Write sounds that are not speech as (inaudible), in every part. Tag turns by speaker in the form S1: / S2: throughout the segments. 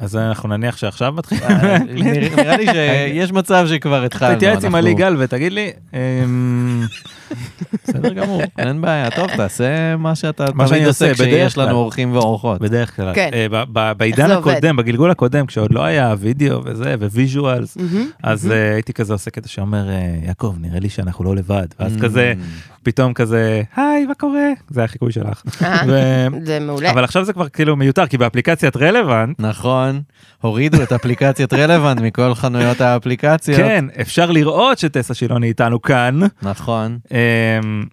S1: אז אנחנו נניח שעכשיו (laughs) מתחיל.
S2: אה, נראה נראה
S1: (laughs)
S2: לי שיש מצב שכבר התחלנו.
S1: תתייעץ עם
S2: אנחנו-
S1: עלי גל ותגיד לי, אמ,
S2: בסדר גמור, אין בעיה. טוב, תעשה מה שאתה
S1: מה שאני
S2: תמיד עושה
S1: עושה, בדרך
S2: כשיש
S1: כלל.
S2: לנו אורחים ואורחות.
S1: (laughs) בדרך כלל,
S3: כן.
S1: אה, ב- ב- בעידן
S3: זה עובד.
S1: הקודם, בגלגול הקודם, כשעוד לא היה וידאו וזה, וויז'ואלס, אז אה, הייתי כזה עושה קטע שאומר, אה, יעקב, נראה לי שאנחנו לא לבד, ואז כזה,
S2: Mm,
S1: פתאום כזה, היי, מה קורה? זה היה חיקוי שלך.
S3: אה,
S1: ו-
S3: (laughs) זה מעולה.
S1: אבל עכשיו זה כבר כאילו מיותר, כי באפליקציית רלוונט,
S2: נכון, הורידו את אפליקציית רלוונט מכל חנויות האפליקציות.
S1: כן, אפשר לראות שטסה שילוני איתנו כאן.
S2: נכון.
S1: אמ,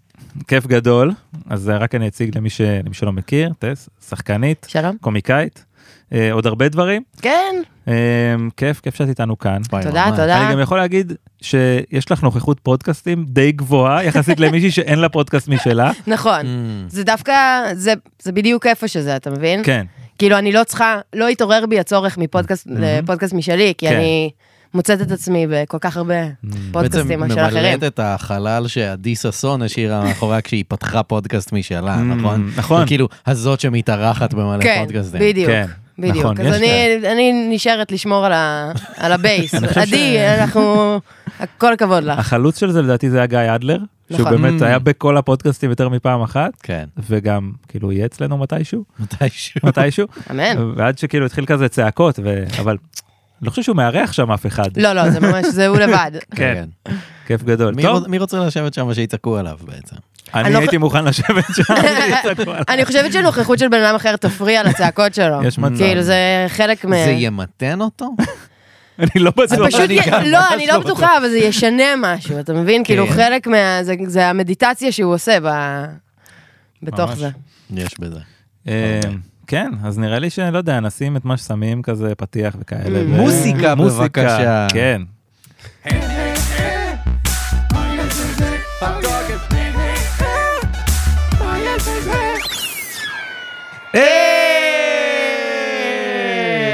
S1: כיף גדול, אז אה, רק אני אציג למי ש- למי שלא מכיר, טס, שחקנית,
S3: שלום.
S1: קומיקאית, אה, עוד הרבה דברים.
S3: כן,
S1: אמ, כיף, כיף שאת איתנו כאן.
S2: וואי,
S3: תודה,
S2: ממש.
S3: תודה.
S1: אני גם יכול להגיד שיש לך נוכחות פודקאסטים די גבוהה יחסית למישהי שאין לה פודקאסט
S3: (laughs)
S1: משלה.
S3: נכון.
S2: Mm.
S3: זה דווקא, זה, זה בדיוק איפה שזה, אתה מבין?
S1: כן,
S3: כאילו, אני לא צריכה, לא התעורר בי הצורך מפודקאסט לפודקאסט משלי, כי
S1: כן.
S3: אני מוצאת את עצמי בכל כך הרבה פודקאסטים של
S2: בעצם
S3: אחרים.
S2: ממלאת את החלל שעדי ששון השאירה מאחוריה כשהיא פתחה פודקאסט משלה,
S1: Mm,
S2: נכון?
S1: נכון.
S2: היא כאילו הזאת שמתארחת במלא
S3: כן,
S2: פודקאסטים.
S3: בדיוק.
S1: כן,
S3: בדיוק,
S1: נכון,
S3: אז
S1: יש
S3: אני, אני נשארת לשמור על, ה,
S1: (laughs)
S3: על הבייס.
S1: אני חושב ש-
S3: עדי, אנחנו, כל הכבוד לך.
S1: החלוץ של זה לדעתי זה היה גיא אדלר, שהוא
S3: נכון.
S1: באמת
S2: Mm.
S1: היה בכל הפודקאסטים יותר מפעם אחת,
S2: כן,
S1: וגם כאילו יהיה אצלנו
S3: (laughs)
S1: מתישהו,
S2: מתישהו.
S1: מתישהו,
S3: אמן.
S1: ועד שכאילו התחיל כזה צעקות, ו... אבל אני לא חושב שהוא מארח שם אף אחד.
S3: לא, לא, זה ממש, זה הוא לבד.
S1: כן, כיף גדול.
S2: מי
S1: טוב,
S2: רוצ- מי רוצה לשבת שם שיצעקו עליו בעצם?
S1: אני
S3: אני לא
S1: הייתי מוכן לשבת שם, יצעקו
S3: (laughs)
S1: עליי.
S3: אני חושבת שנוכחות של בן אדם אחר תפריע לצעקות שלו.
S1: יש מצב.
S3: כאילו, זה חלק מ...
S2: זה ימתן אותו?
S1: אני לא בטוח.
S3: פשוט,
S1: אני
S3: י...
S1: גם
S3: לא,
S1: ממש כן.
S3: אני לא בטוחה, אבל זה ישנה משהו, אתה מבין? כאילו, חלק מה... זה, זה המדיטציה שהוא עושה ב... בתוך
S1: ממש.
S3: זה.
S2: (laughs) יש בזה.
S1: אה, כן, אז נראה לי שלא יודע, נשים את מה ששמים כזה פתיח וכאלה.
S3: Mm.
S1: ו-
S2: מוסיקה,
S1: מוסיקה,
S2: בבקשה.
S1: כן.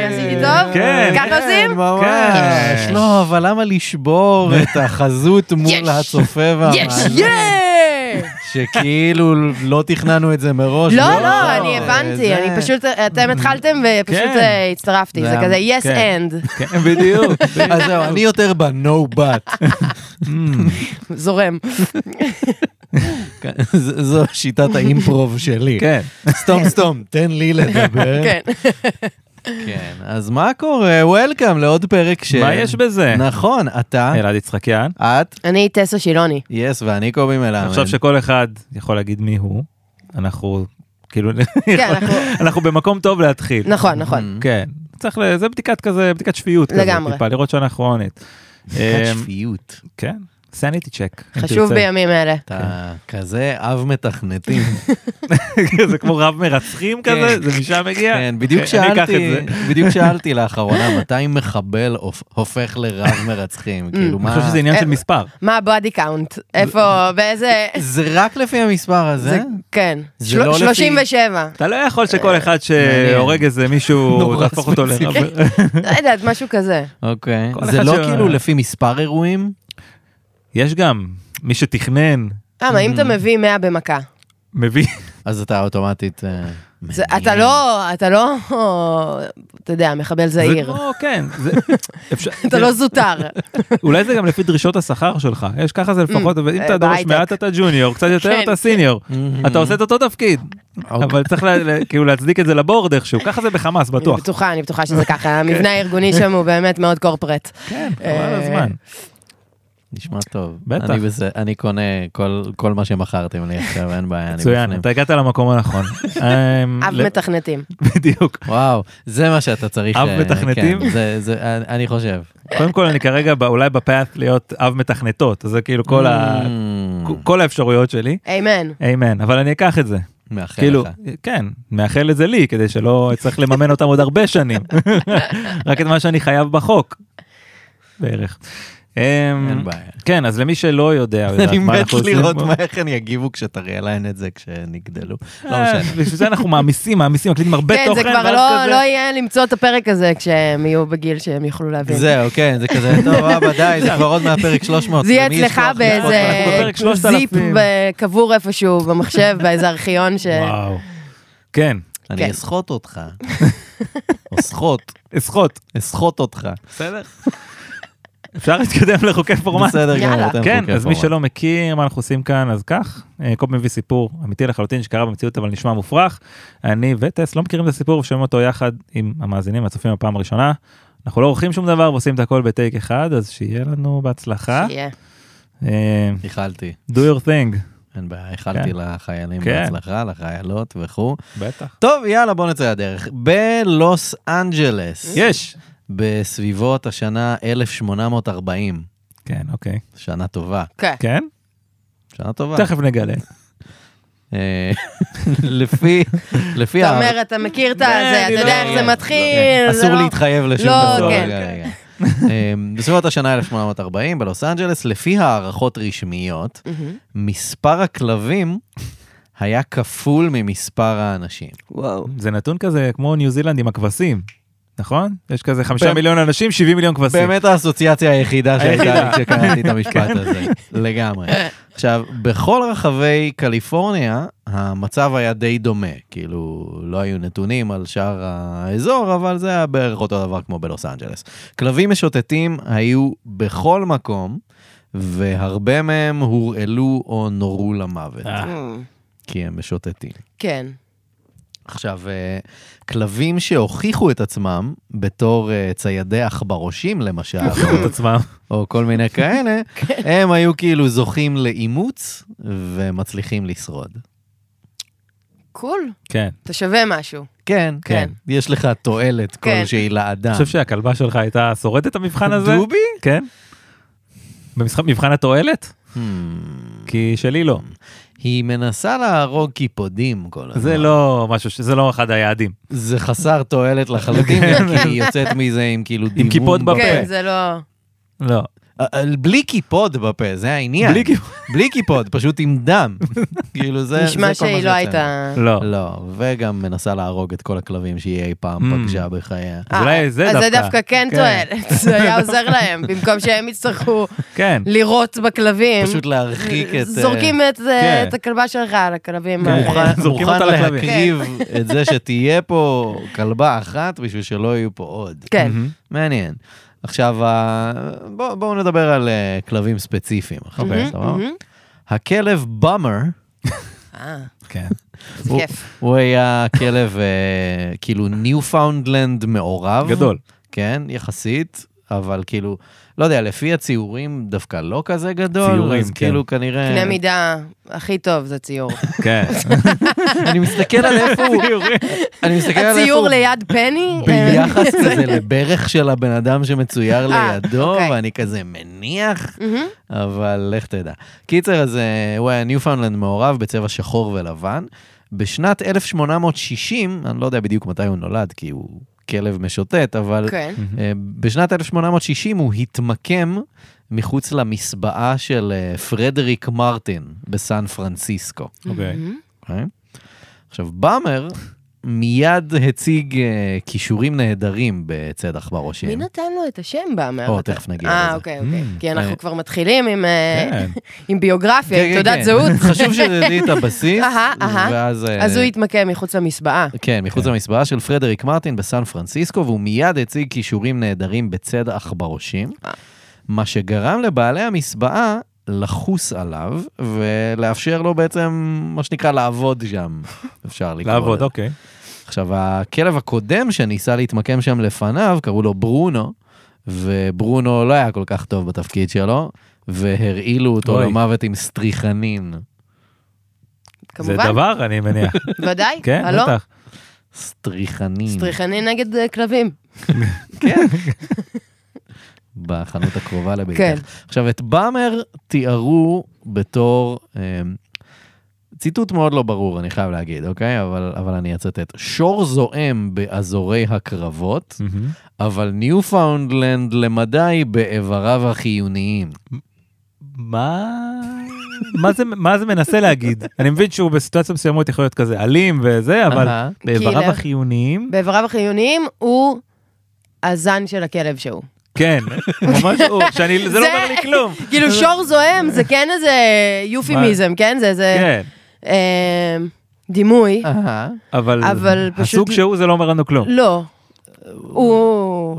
S3: עשיתי אה, טוב?
S1: כן.
S3: ככה עושים?
S2: אה, ממש.
S1: כן.
S2: לא, אבל למה (laughs) לשבור את החזות מול
S3: יש.
S2: הצופה
S3: יש!
S2: והמאזין?
S3: יש!
S2: שכאילו לא תכננו את זה מראש. אה,
S3: לא, לא, אני
S2: זה-
S3: הבנתי, אני פשוט, אתם התחלתם ופשוט
S1: כן.
S3: אה, הצטרפתי, זה
S2: זה-
S3: כזה yes
S1: כן.
S3: and, (laughs)
S1: כן, בדיוק.
S2: אז זהו, אני יותר ב-no but.
S3: זורם.
S2: כן, ז- זו שיטת האימפרוב שלי.
S1: (laughs) כן.
S2: סתום סתום, תן לי לדבר.
S3: כן.
S2: כן. אז מה קורה? וולקאם לעוד פרק של...
S1: מה יש בזה?
S2: נכון, אתה,
S1: אלעד יצחקיאן.
S2: את,
S3: אני טסה שילוני.
S2: יס ואני קובי מלמד.
S1: עכשיו שכל אחד יכול להגיד מי הוא, אנחנו כאילו, (laughs)
S3: כן, אנחנו-
S1: אנחנו במקום טוב להתחיל.
S3: נכון,
S1: (laughs)
S3: נכון.
S1: כן. צריך, ל- זה בדיקת כזה, בדיקת שפיות כזה,
S3: לגמרי.
S1: טיפה, לראות שאנחנו אונית.
S2: בדיקת שפיות.
S1: כן, סניטי צ'ק. (laughs)
S3: חשוב בימים אלה.
S2: אתה
S3: כן.
S2: כזה אב מתכנתים.
S1: זה כמו רב מרצחים כזה,
S2: כן.
S1: זה משם מגיע.
S2: כן, בדיוק
S1: אוקיי, אני אקח
S2: שאלתי,
S1: את זה.
S2: בדיוק שאלתי לאחרונה, מתי מחבל הופ- הופך לרב
S3: Mm.
S2: מרצחים? כאילו,
S1: אני
S2: מה...
S1: חושב שזה עניין של
S3: אה,
S1: מספר.
S3: מה הבודי קאונט? איפה, באיזה...
S2: זה רק לפי המספר הזה?
S3: זה- כן.
S2: זה
S3: של-
S2: לא לפי-
S3: 37.
S1: אתה לא יכול שכל אחד שהורג איזה (laughs) מישהו,
S2: נורא
S1: תהפוך אותו לרב.
S2: ספציפי.
S3: לא יודעת, משהו כזה.
S2: אוקיי.
S1: כל
S2: זה
S1: אחד
S2: לא
S1: ש-
S2: כאילו לפי מספר אירועים?
S1: יש גם מי שתכנן,
S3: למה, אם אתה
S2: Mm.
S3: מביא 100 במכה,
S1: מביא,
S2: אז אתה אוטומטית... אה,
S3: זה-
S2: מעניין.
S3: אתה לא, אתה לא, אתה יודע, מחבל
S1: זה
S3: (laughs) זעיר.
S1: כמו, כן, זה- (laughs) אפשר-
S3: אתה לא זוטר.
S2: (laughs)
S1: אולי זה גם לפי דרישות השכר שלך, יש ככה זה לפחות, אבל אם
S3: אה,
S1: אתה דורש
S3: בהייטק.
S1: מעט אתה ג'וניור, קצת יותר
S3: כן.
S1: אתה סיניור, (laughs) אוקיי. אתה עושה את אותו תפקיד, אבל צריך לה- לה- כאילו להצדיק את זה לבורד איכשהו, ככה זה בחמאס
S3: אני
S1: בטוח.
S3: בטוחה, אני בטוחה שזה ככה. המבנה הארגוני שם הוא באמת מאוד
S2: (laughs)
S3: קורפרט.
S1: כן, חבל
S3: אה,
S1: על הזמן.
S2: נשמע טוב.
S1: בטח.
S2: אני בזה- אני קונה כל- כל מה שמכרתם לי עכשיו, אין בעיה. אני
S1: מצוין,
S2: בפנים.
S1: אתה הגעת למקום
S3: (laughs)
S1: הנכון. אמ,
S3: אב
S1: ל-
S3: מתכנתים.
S1: (laughs) בדיוק.
S2: וואו, זה מה שאתה צריך...
S1: אב
S2: אה,
S1: מתכנתים?
S2: כן, זה- זה- אני- אני חושב.
S1: קודם כל אני כרגע ב- אולי בפאט להיות אב מתכנתות, אז זה כאילו
S3: Mm.
S1: כל ה-
S2: Mm.
S1: כל האפשרויות שלי.
S3: אמן.
S1: איימן, אבל אני אקח את זה.
S2: מאחל
S1: כאילו,
S2: לך.
S1: כן, מאחל את זה לי, כדי
S2: (laughs)
S1: שלא אצטרך לממן אותם עוד הרבה שנים. (laughs) רק את מה שאני חייב בחוק. בערך. אמ,
S2: אין בעיה.
S1: כן, אז למי שלא
S2: (laughs)
S1: יודע, או יודעת
S2: אני
S1: מה
S2: מת
S1: אנחנו עושים לא
S2: לראות
S1: פה-
S2: מה- איך הם יגיבו כשתראה להן את זה כשנגדלו. לא
S1: אה,
S2: משנה.
S1: בשביל זה אנחנו מעמיסים, מעמיסים, מקליטים הרבה
S3: כן,
S1: תוכן.
S3: זה כבר
S1: ואז
S3: לא-
S1: כזה-
S3: לא יהיה למצוא את הפרק הזה כשהם יהיו בגיל שהם יוכלו להבין.
S1: אוקיי.
S2: זהו, כן, זה כזה,
S1: (laughs)
S2: טוב, אבא, די, זה כבר עוד מהפרק 300.
S3: זה יהיה
S2: למי יש
S3: אצלך
S2: כוח
S3: באיזה
S1: אנחנו בפרק 3,000.
S3: זיפ ב- קבור איפשהו במחשב, באיזה ארכיון ש...
S1: וואו. כן,
S2: אני
S3: כן.
S1: (laughs)
S2: אסחוט אותך. או סחוט,
S1: אסחוט,
S2: אסחוט אותך.
S1: בסדר? אפשר להתקדם לחוקי פורמט?
S2: בסדר
S3: יאללה.
S2: גמור, אתם
S1: כן,
S2: חוקי
S1: אז מי
S2: הפורמט.
S1: שלא מכיר מה אנחנו עושים כאן, אז כך, אה, קופ מביא סיפור אמיתי לחלוטין שקרה במציאות אבל נשמע מופרך. אני וטס לא מכירים את הסיפור ושומעים אותו יחד עם המאזינים והצופים בפעם הראשונה. אנחנו לא עורכים שום דבר ועושים את הכל בטייק אחד, אז שיהיה לנו בהצלחה.
S3: שיהיה.
S1: אה,
S2: איחלתי,
S1: do your thing.
S2: אין בעיה, איחלתי לחיילים
S1: כן.
S2: בהצלחה, לחיילות וכו'.
S1: בטח.
S2: טוב, יאללה, בוא נצא לדרך. בלוס אנג'לס,
S1: יש.
S2: בסביבות השנה 1840,
S1: כן, אוקיי.
S2: שנה טובה,
S3: כן.
S1: כן?
S2: שנה טובה.
S1: תכף נגלה.
S2: אה, (laughs) לפי, לפי,
S3: אתה
S2: ה-
S3: אומר, אתה מכיר את הזה,
S1: אני
S3: אתה
S1: לא-
S3: יודע איך זה
S2: לא,
S3: מתחיל. זה
S2: אסור
S3: לא-
S2: להתחייב לשום
S3: לא,
S2: דבר.
S1: כן.
S2: רגע, רגע. אה, בסביבות השנה 1840 בלוס אנג'לס, לפי הערכות רשמיות,
S3: מהמם.
S2: מספר הכלבים היה כפול ממספר האנשים.
S3: וואו.
S1: זה נתון כזה כמו ניו זילנד עם הכבשים, נכון? יש כזה חמישה
S2: באמת-
S1: מיליון אנשים, 70 מיליון כבשים.
S2: באמת האסוציאציה היחידה שהייתה לי
S1: היחידה. (laughs) כן.
S2: כשקראתי את המשפט הזה, לגמרי. עכשיו, בכל רחבי קליפורניה, המצב היה די דומה. כאילו, לא היו נתונים על שאר האזור, אבל זה היה בערך אותו דבר כמו בלוס אנג'לס. כלבים משוטטים היו בכל מקום, והרבה מהם הורעלו או נורו למוות,
S1: אה.
S2: כי הם משוטטים.
S3: Mm. כן.
S2: עכשיו, אה, כלבים שהוכיחו את עצמם בתור אה, ציידי
S1: (laughs)
S2: עכברושים למשל,
S1: את עצמם.
S2: או כל מיני כאלה,
S3: כן.
S2: הם היו כאילו זוכים לאימוץ ומצליחים לשרוד.
S3: קול.
S1: כן.
S3: אתה שווה משהו.
S2: כן,
S3: כן.
S2: יש לך תועלת
S3: כן.
S2: כלשהי לאדם.
S1: אני חושב שהכלבה שלך הייתה שורדת את המבחן הזה?
S2: דובי?
S1: כן. במשחק מבחן התועלת?
S2: Hmm.
S1: כי שלי לא.
S3: Mm,
S2: היא מנסה להרוג קיפודים כל הזמן.
S1: זה לא משהו, ש- זה לא אחד היעדים.
S2: זה חסר תועלת לחלוטין, כי היא יוצאת מזה עם כאילו דימום.
S1: כן.
S2: אה,
S1: קיפוד בפה.
S3: כן, זה לא...
S1: לא.
S2: בלי קיפוד בפה, זה העניין.
S1: בלי קיפוד.
S2: בלי קיפוד, פשוט עם
S1: (laughs)
S2: דם. כאילו זה... זה כל
S3: נשמע
S2: מה
S3: שהיא לא
S2: שיוצא.
S3: הייתה...
S1: לא.
S2: לא, וגם מנסה להרוג את כל הכלבים שהיא אי פעם
S1: Mm.
S2: פגשה בחייה.
S1: אז אולי זה
S3: אז זה
S1: דווקא.
S3: דווקא כן
S1: כן.
S3: תועלת, (laughs) זה היה עוזר להם, במקום שהם
S2: (laughs)
S3: יצטרכו
S1: כן.
S3: לירות בכלבים.
S2: פשוט להרחיק את... אה,
S3: זורקים את זה-
S1: כן.
S3: את הכלבה שלך על הכלבים. אה,
S1: כן.
S3: האלה.
S2: מוכן,
S1: זורקים
S2: מוכן
S1: אותה לכלבים.
S2: להקריב
S1: כן.
S2: את זה שתהיה פה כלבה אחת בשביל שלא יהיו פה עוד.
S3: כן.
S1: מהמם.
S2: מעניין. עכשיו, ה- בוא- בואו נדבר על אה, כלבים ספציפיים. אחר כך,
S1: אוקיי,
S3: מהמם,
S2: סבבה?
S3: מהמם.
S2: הכלב באמר,
S3: אה,
S1: כן.
S3: זה
S2: הוא-
S3: כיף.
S2: הוא היה כלב אה, כאילו ניופאונדלנד מעורב.
S1: גדול.
S2: כן, יחסית, אבל כאילו, לא יודע, לפי הציורים דווקא לא כזה גדול,
S1: ציורים,
S2: אז
S1: כן.
S2: כאילו כנראה...
S3: קנה מידה הכי טוב זה ציור.
S1: כן.
S3: (laughs)
S2: אני מסתכל על איפה הוא, אני מסתכל על איפה
S3: הציור
S2: הוא
S3: ליד פני?
S2: ביחס כזה לברך של הבן אדם שמצויר
S3: אה,
S2: לידו,
S3: אוקיי.
S2: ואני כזה מניח,
S3: מהמם.
S2: אבל לך תדע. קיצר, אז אה, הוא היה ניופאונלנד מעורב בצבע שחור ולבן. בשנת 1860, אני לא יודע בדיוק מתי הוא נולד, כי הוא כלב משוטט, אבל
S3: כן.
S2: אה, בשנת 1860 הוא התמקם מחוץ למסבעה של אה, פרדריק מרטין בסן פרנסיסקו.
S1: אוקיי.
S3: מהמם.
S2: אוקיי? עכשיו, באמר מיד הציג אה, כישורים נהדרים בצדח
S3: מי
S2: בראשים.
S3: נתן לו את השם באמר?
S2: או, תכף נגיע
S3: אה,
S2: לזה.
S3: אוקיי, אוקיי.
S1: Mm.
S3: כי
S2: אה.
S3: אנחנו כבר מתחילים עם, אה, (laughs)
S1: כן.
S3: עם ביוגרפיה, עם
S2: כן,
S3: תעודת
S2: כן.
S3: זהות.
S2: (laughs) חשוב שתדעי את הבסיס,
S3: אהה, אהה.
S2: ואז... אה,
S3: (laughs) אז הוא התמקם מחוץ למסבעה.
S2: כן, מחוץ
S1: כן.
S2: למסבעה של פרדריק מרטין בסן פרנסיסקו, והוא מיד הציג כישורים נהדרים בצד עכברושים,
S3: אה.
S2: מה שגרם לבעלי המסבעה לחוס עליו, ולאפשר לו בעצם, מה שנקרא, לעבוד שם, (laughs) אפשר לקרוא לזה.
S1: לעבוד, אוקיי.
S2: עכשיו, הכלב הקודם שניסה להתמקם שם לפניו, קראו לו ברונו, וברונו לא היה כל כך טוב בתפקיד שלו, והרעילו אותו
S1: אוי.
S2: למוות עם סטריכנין.
S1: זה
S3: כמובן,
S1: דבר, אני
S3: (laughs)
S1: מניח.
S3: ודאי.
S1: כן,
S3: הלו?
S1: בטח.
S2: סטריכנין.
S3: סטריכני נגד אה, כלבים.
S2: בחנות הקרובה לביתך.
S3: כן.
S2: עכשיו, את באמר תיארו בתור, אה, ציטוט מאוד לא ברור, אני חייב להגיד, אוקיי? אבל, אבל אני אצטט. שור זועם באזורי הקרבות,
S1: מהמם.
S2: אבל ניופאונדלנד למדי באיבריו החיוניים.
S1: מה... מה זה, מה זה מנסה
S3: (laughs)
S1: להגיד? אני מבין שהוא בסיטואציות מסוימות יכול להיות כזה אלים וזה, אבל אה,
S2: אהה.
S1: באיבריו
S3: קילר. (laughs)
S1: החיוניים,
S3: באיבריו החיוניים הוא הזן של הכלב שהוא.
S1: כן, ממש
S3: (laughs)
S1: הוא, שאני, זה לא
S3: זה-
S1: אומר לי
S3: (laughs)
S1: כלום.
S3: כאילו שור זוהם זה כן איזה יופימיזם, כן? זה איזה...
S1: כן,
S3: אמ, דימוי,
S2: אהה.
S1: אבל,
S3: אבל פשוט-
S1: הסוג שהוא זה לא אומר לנו כלום.
S3: לא. הוא...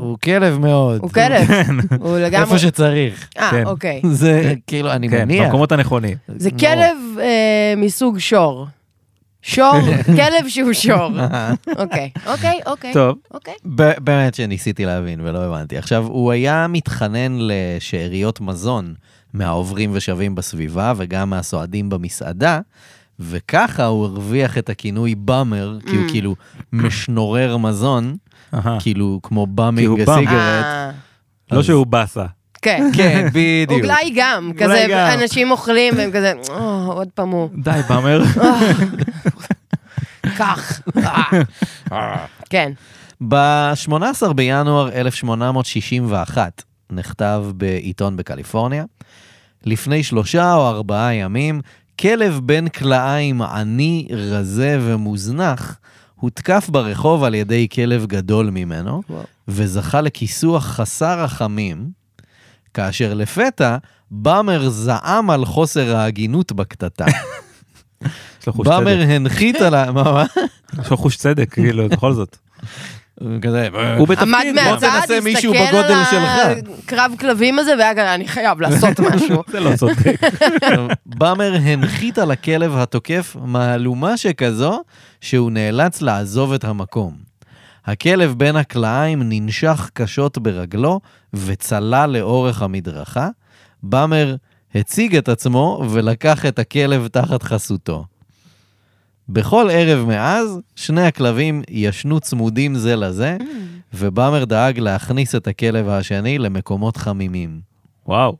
S2: הוא כלב מאוד.
S3: הוא כלב, הוא
S2: איפה
S3: לגמרי...
S2: שצריך.
S1: כן.
S3: אה, אוקיי.
S2: זה כאילו, אני
S1: כן,
S2: מניח.
S1: במקומות הנכונים.
S3: זה כלב אה, מסוג שור. שור, כלב שהוא שור.
S2: אהה.
S3: אוקיי, אוקיי, אוקיי.
S1: טוב,
S3: אוקיי.
S2: ב- באמת שניסיתי להבין ולא הבנתי. עכשיו, הוא היה מתחנן לשאריות מזון מהעוברים ושבים בסביבה וגם מהסועדים במסעדה, וככה הוא הרוויח את הכינוי באמר, כי הוא
S3: Mm.
S2: כאילו משנורר מזון,
S1: אהה.
S2: כאילו כמו
S1: כי הוא
S2: באמינג
S1: באמר.
S2: הסיגרט.
S3: אה,
S1: לא
S2: אז-
S1: שהוא באסה.
S3: כן.
S2: כן, בדיוק.
S3: אולי גם,
S1: אולי
S3: כזה
S1: גם.
S3: אנשים אוכלים והם כזה, "או, עוד פעם הוא,
S1: די, באמר.
S3: כך. אה. כן.
S2: ב-18 בינואר 1861 נכתב בעיתון בקליפורניה, לפני שלושה או ארבעה ימים, כלב בן כלאיים עני, רזה ומוזנח הותקף ברחוב על ידי כלב גדול ממנו,
S3: וואו.
S2: וזכה לכיסוח חסר רחמים, כאשר לפתע באמר זעם על חוסר ההגינות בקטטה.
S1: (laughs) יש לו חוש
S2: באמר
S1: צדק.
S2: הנחית על ה... (laughs) מה, מה?
S1: יש לו חוש צדק, כאילו, בכל זאת.
S2: הוא כזה...
S1: הוא בתפקיד.
S3: עמד
S1: בוא
S3: מהצד,
S2: תנסה מישהו
S3: הסתכל על
S2: בגודל
S3: הקרב כלבים הזה, והיה כזה, אני חייב לעשות משהו.
S1: זה לא צודק.
S2: באמר הנחית על הכלב התוקף מהלומה שכזו, שהוא נאלץ לעזוב את המקום. הכלב בין הכלאיים ננשך קשות ברגלו וצלל לאורך המדרכה. באמר הציג את עצמו ולקח את הכלב תחת חסותו. בכל ערב מאז, שני הכלבים ישנו צמודים זה לזה, ובאמר דאג להכניס את הכלב השני למקומות חמימים.
S1: וואו.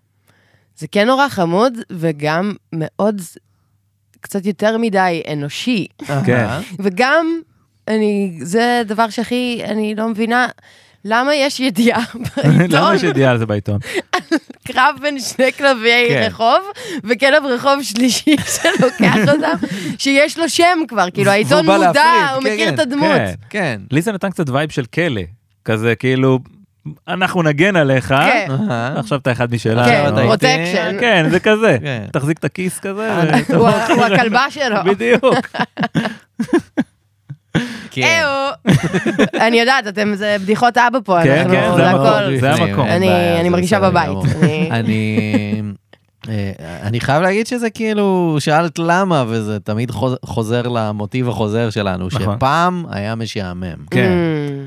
S3: זה כן נורא חמוד, וגם מאוד, קצת יותר מדי אנושי.
S1: כן.
S3: וגם, אני, זה דבר שהכי, אני לא מבינה, למה יש ידיעה בעיתון,
S1: למה יש ידיעה על זה בעיתון?
S3: קרב בין שני כלבי
S2: כן.
S3: רחוב, וכלב רחוב שלישי (laughs) שלוקח אותם, שיש לו שם כבר, כאילו העיתון
S2: והוא בא
S3: מודע,
S2: להפריד,
S3: הוא
S2: כן,
S3: מכיר
S2: כן,
S3: את הדמות.
S1: כן.
S2: כן.
S1: לי זה נתן קצת וייב של כלא. כזה, כאילו, אנחנו נגן עליך.
S3: כן,
S2: אהה.
S1: עכשיו אתה אחד משלנו.
S3: כן,
S2: אתה
S1: אה,
S2: איתי?
S3: פרוטקשן.
S1: כן, זה כזה.
S2: כן.
S1: תחזיק את הכיס כזה.
S3: אה,
S1: ו-
S3: הוא ה- הוא הכלבה שלו.
S1: כן. (laughs)
S3: (laughs)
S1: בדיוק.
S3: אה,
S2: כן.
S3: אהו. אני יודעת, אתם, זה בדיחות אבא פה,
S1: כן,
S3: אנחנו,
S1: כן,
S3: זה
S1: זה
S3: הכל.
S1: המקום. זה המקום.
S2: אין
S3: אני-
S2: בעיה,
S3: אני
S2: זה
S3: מרגישה
S2: בסדר
S3: בבית.
S2: גמור.
S3: אני-
S2: אני... אה, אני חייב להגיד שזה כאילו, שאלת למה, וזה תמיד חוז- חוזר למוטיב החוזר שלנו,
S1: נכון.
S2: שפעם היה משעמם.
S1: כן.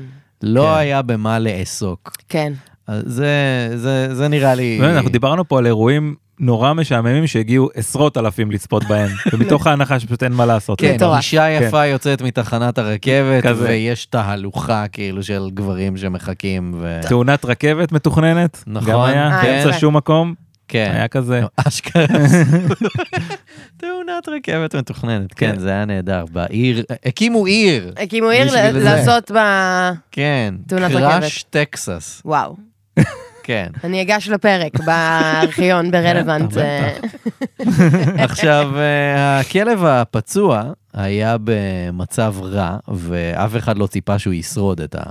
S3: Mm,
S2: לא
S1: כן.
S2: היה במה לעסוק.
S3: כן.
S2: אז זה, זה, זה נראה לי...
S1: באמת, לא, אנחנו דיברנו פה על אירועים נורא משעממים שהגיעו עשרות אלפים לצפות
S3: (laughs)
S1: בהם, ומתוך ההנחה שפשוט אין מה לעשות.
S2: כן,
S3: מטורף.
S2: אישה יפה יוצאת מתחנת הרכבת,
S1: כזה.
S2: ויש תהלוכה כאילו של גברים שמחכים, ו...
S1: תאונת רכבת מתוכננת,
S2: כן. נכון,
S1: גם היה,
S3: אה,
S1: באמצע
S3: יפה.
S1: שום מקום,
S2: כן.
S1: היה כזה.
S2: לא, אשכרה. תאונת רכבת מתוכננת, כן,
S1: כן.
S2: זה היה נהדר. בעיר, הקימו עיר,
S3: הקימו עיר
S2: בשביל
S3: ל-
S2: זה.
S3: כאילו, לעשות ב...
S2: כן.
S3: כן. תאונת
S2: קראש טקסס,
S3: וואו.
S2: כן.
S3: אני אגש לפרק בארכיון ברלוונט.
S1: בטח,
S3: אה,
S2: עכשיו, אה, הכלב הפצוע היה במצב רע, ואף אחד לא ציפה שהוא ישרוד את ה...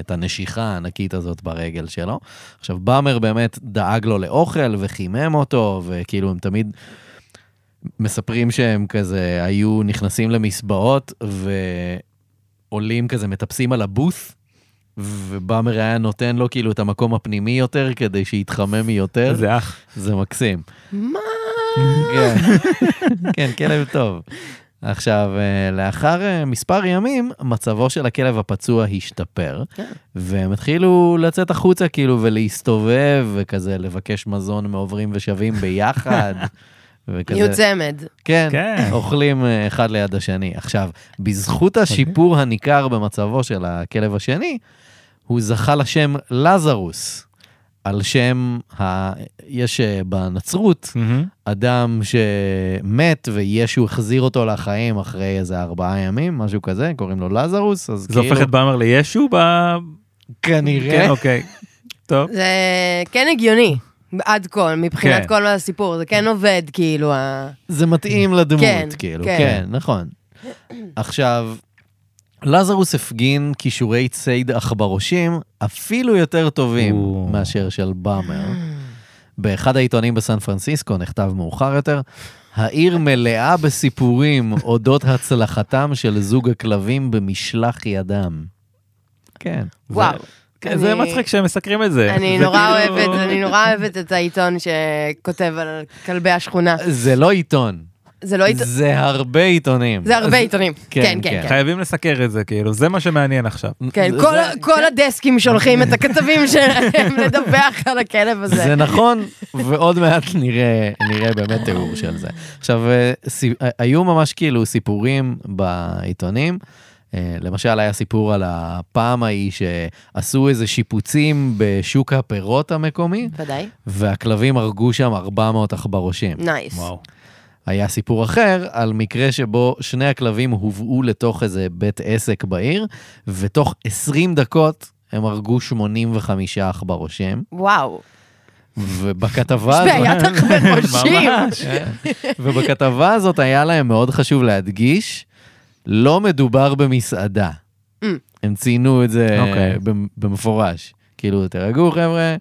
S2: את הנשיכה הענקית הזאת ברגל שלו. עכשיו, באמר באמת דאג לו לאוכל וחימם אותו, וכאילו הם תמיד מספרים שהם כזה היו נכנסים למסבעות ועולים כזה, מטפסים על הבוס, ובאמר היה נותן לו כאילו את המקום הפנימי יותר כדי שיתחמם יותר.
S1: איזה אח.
S2: זה מקסים.
S3: מה?
S2: כן. כן, כלב טוב. עכשיו, אה, לאחר אה, מספר ימים, מצבו של הכלב הפצוע השתפר,
S3: כן.
S2: והם התחילו לצאת החוצה כאילו ולהסתובב, וכזה לבקש מזון מעוברים ושבים ביחד,
S3: יהיו
S2: וכזה,
S3: צמד.
S2: כן,
S1: כן.
S2: אוכלים אה, אחד ליד השני. עכשיו, בזכות השיפור הניכר במצבו של הכלב השני, הוא זכה לשם לזרוס, על שם, ה... יש אה, בנצרות,
S1: מהמם.
S2: אדם שמת וישו החזיר אותו לחיים אחרי איזה ארבעה ימים, משהו כזה, קוראים לו לזרוס, אז
S1: זה
S2: כאילו...
S1: הופך את באמר לישו? ב...
S2: כנראה.
S1: כן, אוקיי.
S3: (laughs)
S1: טוב.
S3: זה כן הגיוני. עד כה, מבחינת
S1: כן.
S3: כל הסיפור, זה כן עובד, כאילו, ה-
S2: זה מתאים לדמות,
S3: כן,
S2: כאילו,
S3: כן.
S2: כן, כן
S3: (clears throat)
S2: נכון. עכשיו, לזרוס הפגין כישורי ציד עכברושים אפילו יותר טובים
S1: או.
S2: מאשר של באמר. באחד העיתונים בסן פרנסיסקו נכתב מאוחר יותר, העיר מלאה
S3: (laughs)
S2: בסיפורים אודות הצלחתם של זוג הכלבים במשלח ידם. כן. זה-
S3: וואו.
S1: כן, זה
S3: אני-
S1: מצחיק שהם מסקרים את זה.
S3: אני
S1: זה
S3: נורא
S1: כאילו-
S3: אוהבת, אני נורא אוהבת את העיתון שכותב על כלבי השכונה.
S2: זה לא עיתון,
S3: זה לא עיתון,
S2: זה הרבה עיתונים.
S3: זה הרבה עיתונים.
S2: כן,
S3: כן,
S2: כן.
S3: כן, כן.
S1: חייבים לסקר את זה, כאילו, זה מה שמעניין עכשיו.
S3: כן,
S2: זה-
S3: כל-
S2: זה-
S3: כל הדסקים שולחים את הכתבים שלהם לדווח על הכלב הזה.
S2: זה נכון, ועוד מעט נראה, נראה באמת תיאור של זה. עכשיו, אה, סי- אה, היו ממש כאילו סיפורים בעיתונים. אה, למשל, היה סיפור על הפעם ההיא שעשו איזה שיפוצים בשוק הפירות המקומי,
S3: ודאי.
S2: והכלבים הרגו שם 400 עכברושים.
S3: נייס.
S2: היה סיפור אחר על מקרה שבו שני הכלבים הובאו לתוך איזה בית עסק בעיר, ותוך 20 דקות הם הרגו 85 עכברושים,
S3: וואו. יש
S2: ובכתבה הזאת,
S3: בעיית החברושים. (laughs)
S2: (laughs)
S1: ממש.
S2: ובכתבה הזאת היה להם מאוד חשוב להדגיש, לא מדובר במסעדה.
S3: Mm.
S2: הם ציינו את זה
S1: אוקיי.
S2: במ- במפורש. כאילו, תירגעו חבר'ה,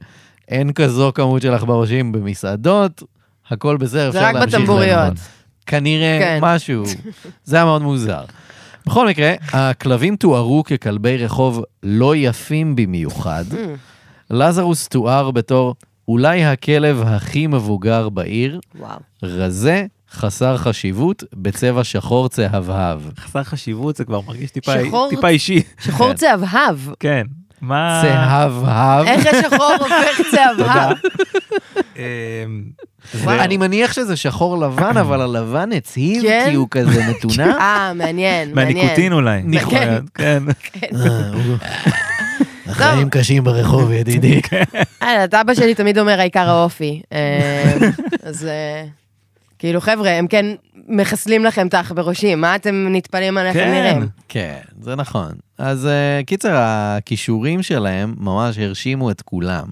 S2: אין כזו כמות של עכברושים במסעדות, הכל בסדר,
S3: זה
S2: אפשר
S3: רק
S2: להמשיך
S3: בטמבוריות.
S2: לאכול. כנראה
S3: כן.
S2: משהו. זה היה מאוד מוזר. בכל מקרה, הכלבים תוארו ככלבי רחוב לא יפים במיוחד.
S3: Mm,
S2: לזרוס תואר בתור אולי הכלב הכי מבוגר בעיר,
S3: וואו.
S2: רזה, חסר חשיבות, בצבע שחור צהבהב.
S1: חסר חשיבות, זה כבר מרגיש טיפה
S3: שחור-
S1: טיפה אישי. (laughs)
S3: שחור
S2: כן.
S3: צהבהב.
S1: כן. מה...
S2: צהבהב.
S3: איך השחור הופך צהבהב?
S1: אמ,
S3: וואו.
S2: אני מניח שזה שחור לבן, אבל הלבן הצהיב,
S3: כן?
S2: כי הוא כזה מתונה.
S3: אה, מעניין, מעניין.
S1: מהניקוטין אולי.
S2: נכון.
S1: כן. כן.
S3: החיים
S2: קשים ברחוב, (laughs) ידידי.
S3: אה, את אבא שלי תמיד אומר העיקר האופי. אה, אז אה, כאילו, חבר'ה, הם כן מחסלים לכם את האח בראשים, מה אתם נטפלים על איך הם
S1: כן.
S3: נראים?
S2: כן, זה נכון. אז אה, קיצר, הכישורים שלהם ממש הרשימו את כולם,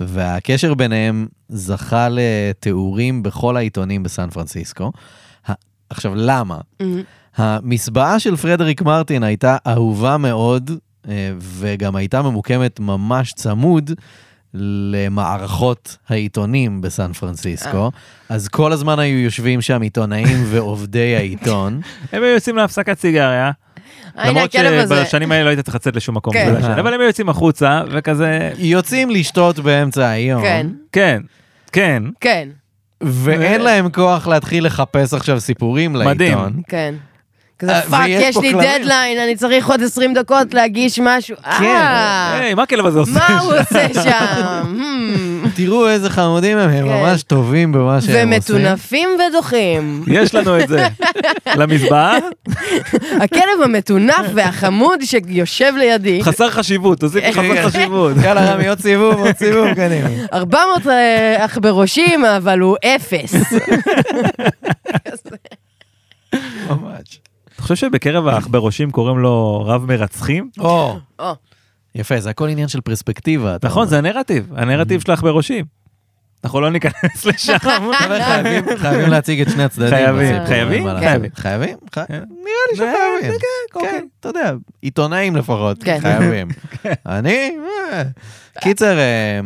S2: והקשר ביניהם זכה לתיאורים בכל העיתונים בסן פרנסיסקו. ה- עכשיו, למה?
S3: אה,
S2: המסבעה של פרדריק מרטין הייתה אהובה מאוד, אה, וגם הייתה ממוקמת ממש צמוד למערכות העיתונים בסן
S3: אה.
S2: פרנסיסקו. אז כל הזמן היו יושבים שם
S3: (laughs)
S2: עיתונאים ועובדי העיתון.
S1: הם היו יוצאים להפסקת סיגריה,
S3: הנה
S1: למרות
S3: הכלב הזה.
S1: שבשנים האלה לא היית צריך לצאת לשום מקום,
S3: כן.
S1: זה לא ישן, אבל הם היו יוצאים החוצה, וכזה,
S2: יוצאים לשתות באמצע היום,
S3: כן,
S1: כן, כן,
S3: כן,
S2: ואין
S1: ו-
S2: להם כוח להתחיל לחפש עכשיו סיפורים
S1: מדהים.
S2: לעיתון.
S3: כן. כזה
S2: אה,
S3: פאק,
S2: ויש
S3: יש
S2: פה
S3: לי
S2: כלבים."
S3: דדליין, אני צריך עוד 20 דקות להגיש משהו. אה,
S1: היי, מה הכלב הזה עושה?
S3: מה הוא
S1: שם?
S3: עושה שם? Hmm.
S2: תראו איזה חמודים הם, הם
S3: כן.
S2: ממש טובים במה שהם עושים.
S3: ומטונפים ודוחים.
S1: יש לנו
S2: (laughs)
S1: את זה, למזבעה,
S3: הכלב המטונף והחמוד שיושב לידי,
S1: חסר חשיבות, תוסיף
S2: כן.
S1: לי חסר
S2: (laughs)
S1: חשיבות.
S2: יאללה רמי, עוד סיבוב, עוד
S3: (laughs)
S2: סיבוב, קדימה.
S3: 400 אה, אך בראשים, אבל הוא אפס.
S2: ממש.
S1: אתה חושב שבקרב העכברושים קוראים לו רב מרצחים?
S2: או,
S3: או,
S2: יפה, זה הכל עניין של פרספקטיבה. אתה
S1: נכון,
S2: אומר.
S1: זה הנרטיב, הנרטיב של העכברושים. אנחנו לא
S2: (laughs)
S1: ניכנס לשם.
S2: אבל חייבים- חייבים להציג את שני הצדדים.
S1: חייבים,
S2: בסיפור,
S1: חייבים,
S2: אין מה לעשות.
S1: חייבים.
S2: חייבים? חי- נראה לי
S1: זה-
S2: שחייבים.
S1: זה אוקיי.
S2: כן, אתה יודע, עיתונאים לפחות,
S3: (laughs) כן.
S2: חייבים. אני? אה. קיצר, אה,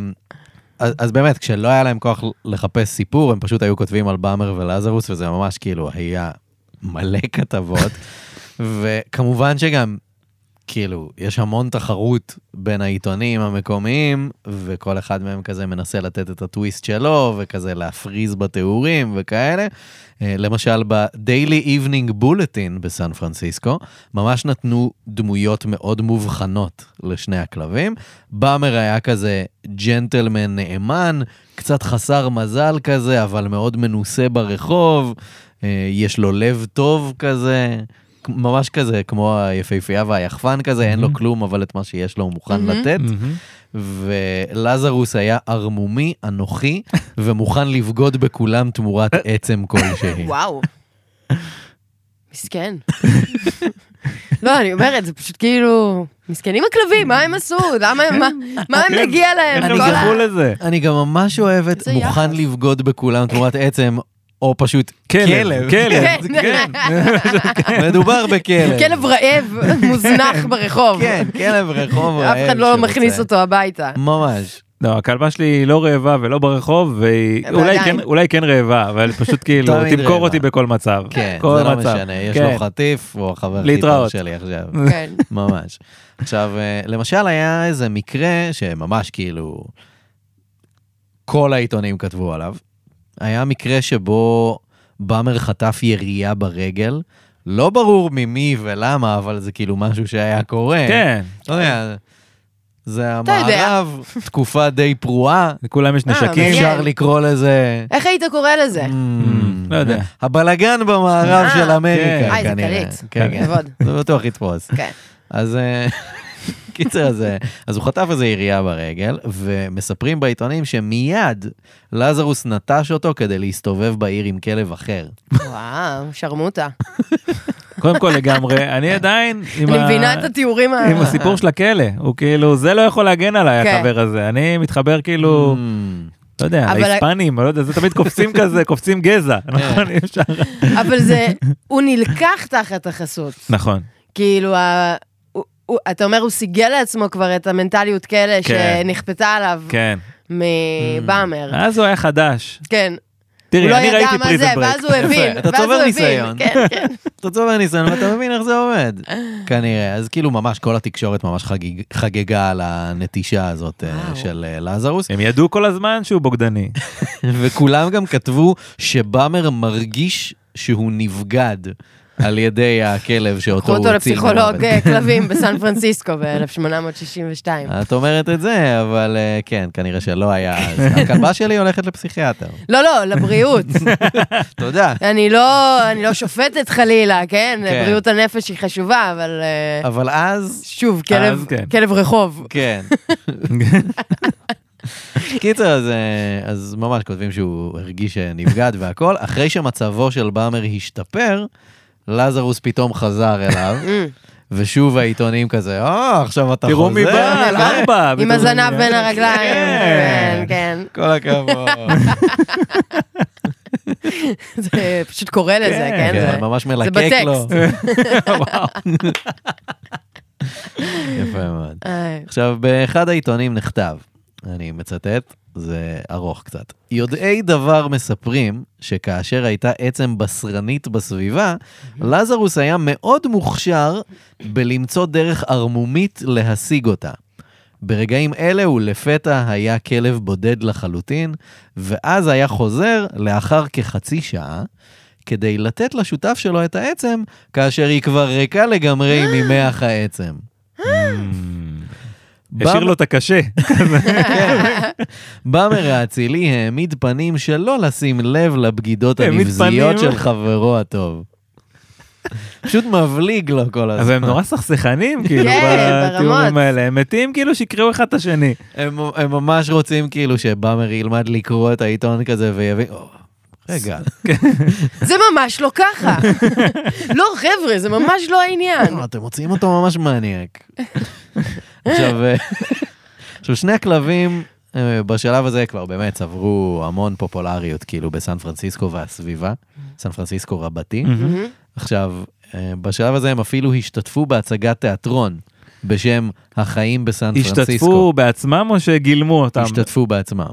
S2: אז אז באמת, כשלא היה להם כוח לחפש סיפור, הם פשוט היו כותבים על באמר ולזרוס, וזה ממש כאילו היה מלא
S3: (laughs)
S2: כתבות. וכמובן שגם, כאילו, יש המון תחרות בין העיתונים המקומיים, וכל אחד מהם כזה מנסה לתת את הטוויסט שלו, וכזה להפריז בתיאורים וכאלה. אה, למשל, ב-Daily Evening Bulletin בסן פרנסיסקו, ממש נתנו דמויות מאוד מובחנות לשני הכלבים. באמר היה כזה ג'נטלמן נאמן, קצת חסר מזל כזה, אבל מאוד מנוסה ברחוב, אה, יש לו לב טוב כזה. ממש כזה, כמו היפהפייה והיחפן כזה, אין לו כלום, אבל את מה שיש לו הוא מוכן
S3: מהמם.
S1: כן.
S2: לתת. ולזרוס היה ערמומי,
S3: (laughs)
S2: אנוכי, ומוכן לבגוד בכולם תמורת עצם כלשהי.
S3: וואו. מסכן. לא, אני אומרת, זה פשוט כאילו... מסכנים הכלבים, מה הם עשו? למה הם... מה- מה הם מגיע
S2: כן,
S3: להם?
S1: איך כן, הם
S3: כל ה-
S1: זכו לזה?
S2: אני גם ממש אוהב את
S3: איזה
S2: מוכן
S3: יחס.
S2: לבגוד בכולם תמורת עצם, או פשוט כלב.
S1: כלב, כלב,
S3: (laughs) כן.
S1: כן.
S2: (laughs) מדובר בכלב.
S3: כלב רעב
S1: (laughs)
S3: מוזנח ברחוב.
S2: כן, כלב רחוב רעב.
S3: אף אחד לא
S2: שרוצה.
S3: מכניס אותו הביתה.
S2: ממש.
S1: לא, הכלבה שלי לא רעבה ולא ברחוב, והיא
S3: אבל
S1: אולי
S3: עדיין.
S1: כן- אולי כן רעבה, אבל פשוט כאילו,
S2: תמיד
S1: תמכור
S2: רעבה.
S1: אותי בכל מצב.
S2: כן,
S1: כל
S2: זה לא
S1: מצב.
S2: משנה, יש
S1: כן.
S2: לו חטיף, הוא החבר הכי טוב
S1: להתראות.
S2: שלי עכשיו.
S1: (laughs)
S3: כן.
S2: ממש. עכשיו, אה, למשל היה איזה מקרה שממש כאילו כל העיתונים כתבו עליו. היה מקרה שבו באמר חטף ירייה ברגל. לא ברור ממי ולמה, אבל זה כאילו משהו שהיה קורה.
S1: כן,
S2: לא יודע, זה
S3: אתה יודע.
S2: המערב, תקופה די פרועה,
S1: לכולם יש
S3: אה,
S1: נשקים.
S3: מעניין.
S2: אפשר לקרוא לזה...
S3: איך היית קורא
S1: (laughs)
S3: לזה?
S2: אמ,
S1: לא יודע.
S2: הבלגן במערב
S3: אה,
S2: של אמריקה,
S3: אה, זה
S2: כנראה.
S3: קליט.
S2: כן, כן.
S3: כבוד.
S2: זה בטוח יתפוס.
S3: כן.
S2: אז אה, קיצר, אז, אה, אז הוא חטף איזה ירייה ברגל, ומספרים בעיתונים שמיד לזרוס נטש אותו כדי להסתובב בעיר עם כלב אחר.
S3: וואו, שרמוטה.
S1: קודם כל לגמרי, אני עדיין עם
S3: אני
S1: ה-
S3: מבינה את התיאורים ה...
S1: עם הסיפור של הכלא, הוא כאילו, זה לא יכול להגן עליי,
S3: כן.
S1: החבר הזה. אני מתחבר כאילו,
S2: Hmm.
S1: לא יודע,
S3: אבל- כן.
S1: ההיספנים, לא יודע, זה תמיד קופצים
S3: (laughs)
S1: כזה, קופצים גזע, נכון? אי אפשר.
S3: אבל זה, הוא נלקח תחת החסות.
S1: נכון.
S3: כאילו, ה- הוא- הוא- אתה אומר, הוא סיגל לעצמו כבר את המנטליות כאלה
S1: כן.
S3: שנכפתה עליו
S1: כן.
S3: מבאמר.
S1: אז הוא היה חדש.
S3: כן. הוא
S1: תראי,
S3: לא
S1: אני
S3: ידע
S1: ראיתי
S3: מה זה,
S1: פריזם ברק.
S3: ואז הוא הבין.
S2: אתה
S3: ואז הוא
S2: צובר
S3: הבין,
S2: ניסיון.
S3: כן, כן.
S2: אתה צובר ניסיון ואתה מבין איך זה עובד, כנראה. אז כאילו ממש כל התקשורת ממש חגיג- חגגה על הנטישה הזאת אה,
S3: וואו.
S2: של אה, לזרוס,
S1: הם ידעו כל הזמן שהוא בוגדני.
S2: וכולם גם כתבו שבאמר מרגיש שהוא נבגד על ידי הכלב
S3: קחו
S2: שאותו הוא
S3: אותו
S2: הציל.
S3: לפסיכולוג
S2: ממוות.
S3: אה, כלבים בסן פרנסיסקו ב-1862.
S1: אה.
S2: כן. את אומרת את זה, אבל אה, כן, כנראה שלא היה. אז הכלבה שלי הולכת לפסיכיאטר.
S3: לא, לא,
S1: (laughs)
S3: לבריאות.
S2: תודה.
S3: אני לא אני לא שופטת חלילה, כן?
S2: כן.
S3: בריאות הנפש היא חשובה, אבל אה,
S2: אבל אז,
S3: שוב, כלב-
S1: כן.
S3: כלב רחוב.
S2: כן. קיצר, אז, אה, אז ממש כותבים שהוא הרגיש שנבגד והכל. אחרי שמצבו של באמר השתפר, לזרוס פתאום חזר אליו,
S1: כן.
S3: Mm.
S2: ושוב העיתונים כזה, אה, עכשיו אתה חוזר.
S1: תראו מי בא, על ארבע.
S3: כן, עם
S1: בתור-
S3: הזנב בין הרגליים.
S1: כן.
S3: כן, כן.
S2: כל הכבוד.
S3: כן. זה פשוט קורא לזה, כן?
S2: כן,
S3: זה-
S2: ממש מלקק
S3: בטקסט.
S2: לו.
S1: וואו.
S2: (laughs) יפה מאוד.
S3: איי.
S2: עכשיו, באחד העיתונים נכתב, אני מצטט, זה ארוך קצת. יודעי דבר מספרים שכאשר הייתה עצם בשרנית בסביבה, לזרוס היה מאוד מוכשר בלמצוא דרך ערמומית להשיג אותה. ברגעים אלה הוא לפתע היה כלב בודד לחלוטין, ואז היה חוזר לאחר כחצי שעה, כדי לתת לשותף שלו את העצם, כאשר היא כבר ריקה לגמרי ממח העצם.
S1: השאיר לו את הקשה.
S2: באמר האצילי העמיד פנים שלא לשים לב לבגידות
S1: העמיד
S2: הנבזיות
S1: פנים.
S2: של חברו הטוב. פשוט מבליג לו כל
S1: אז
S2: הזמן.
S1: הם נורא סכסכנים, כאילו,
S3: כן,
S1: בתיאורים
S3: ברמות.
S1: האלה. הם מתים כאילו שיקראו אחד את השני.
S2: הם, הם ממש רוצים כאילו שבאמר ילמד לקרוא את העיתון כזה ויבין, "או, רגע,
S3: זה ממש לא ככה. לא, חבר'ה, זה ממש לא העניין.
S2: לא, אתם מוצאים אותו ממש מניאק. עכשיו, אה, עכשיו, שני הכלבים אה, בשלב הזה כבר באמת צברו המון פופולריות, כאילו בסן פרנסיסקו והסביבה, סן פרנסיסקו רבתי.
S3: מהמם.
S2: עכשיו, אה, בשלב הזה הם אפילו השתתפו בהצגת תיאטרון בשם החיים בסן פרנסיסקו.
S1: השתתפו בעצמם או שגילמו אותם?
S2: השתתפו בעצמם,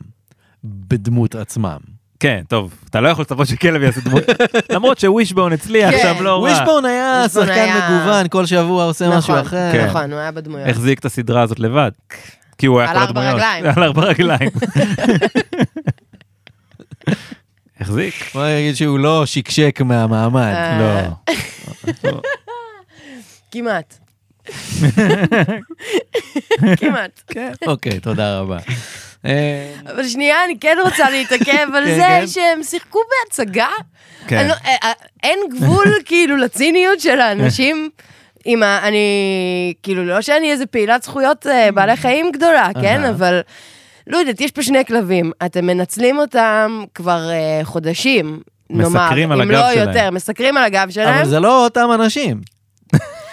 S2: בדמות עצמם.
S1: כן, טוב, אתה לא יכול לצפות שכלב יעשה דמות. למרות שווישבון הצליח
S3: כן.
S1: שם לא רע.
S2: ווישבון היה
S3: ווישבון
S2: שחקן
S3: היה-
S2: מגוון, כל שבוע עושה משהו
S3: נכון,
S2: אחר.
S1: כן.
S3: נכון, הוא היה בדמויות.
S1: החזיק את הסדרה הזאת לבד. כי הוא היה
S3: על
S1: כל
S3: ארבע
S1: הדמויות.
S3: רגליים.
S1: על ארבע רגליים. החזיק.
S2: בוא נגיד שהוא לא שקשק מהמעמד.
S3: אה.
S1: לא.
S3: כמעט. כמעט.
S2: כן. אוקיי, תודה רבה. אה,
S3: אבל שנייה, אני כן רוצה להתעכב
S2: כן,
S3: על
S2: כן.
S3: זה שהם שיחקו בהצגה.
S1: כן.
S3: אני לא- אה, אה, אין
S2: (laughs)
S3: גבול כאילו לציניות של האנשים. עם ה... אני... כאילו, לא שאני איזה פעילת זכויות אה, בעלי חיים גדולה, כן?
S2: אהה.
S3: אבל... לא יודעת, יש פה שני כלבים. אתם מנצלים אותם כבר אה, חודשים, נאמר.
S1: מסקרים על
S3: אם
S1: הגב
S3: לא
S1: שלהם.
S3: יותר, מסקרים על הגב שלהם.
S2: אבל זה לא אותם אנשים.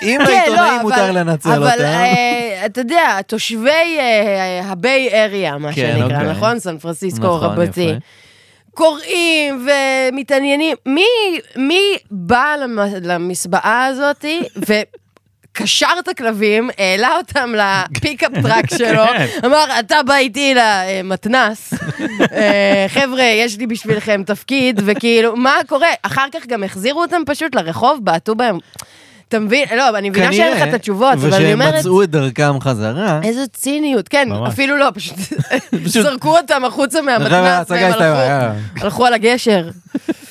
S2: אם
S3: כן,
S2: לעיתונאים
S3: לא,
S2: מותר
S3: אבל-
S2: לנצל
S3: אבל
S2: אותם,
S3: אה, אתה יודע, תושבי אה, הביי אריה, מה
S2: כן,
S3: שנקרא,
S2: אוקיי.
S3: נכון? סן פרנסיסקו
S2: נכון,
S3: רבתי.
S2: יפה.
S3: קוראים ומתעניינים. מי- מי בא למ- למסבעה הזאתי ו... קשר את הכלבים, העלה אותם לפיקאפ טראק שלו,
S1: כן.
S3: אמר, אתה בא איתי למתנס, אה, חבר'ה, יש לי בשבילכם תפקיד, וכאילו, מה קורה? אחר כך גם החזירו אותם פשוט לרחוב, בעטו בהם. אתה מבין? לא, אני מבינה שאין לך את התשובות, אבל אני אומרת...
S2: ושהם מצאו את דרכם חזרה.
S3: איזו ציניות, כן,
S1: ממש.
S3: אפילו לא, פשוט זרקו אותם החוצה
S2: חבר'ה,
S3: מהמתנ"ס,
S2: ההצגה
S3: והם
S2: הסתיימה,
S3: הלכו-
S2: יאללה.
S3: הלכו על הגשר.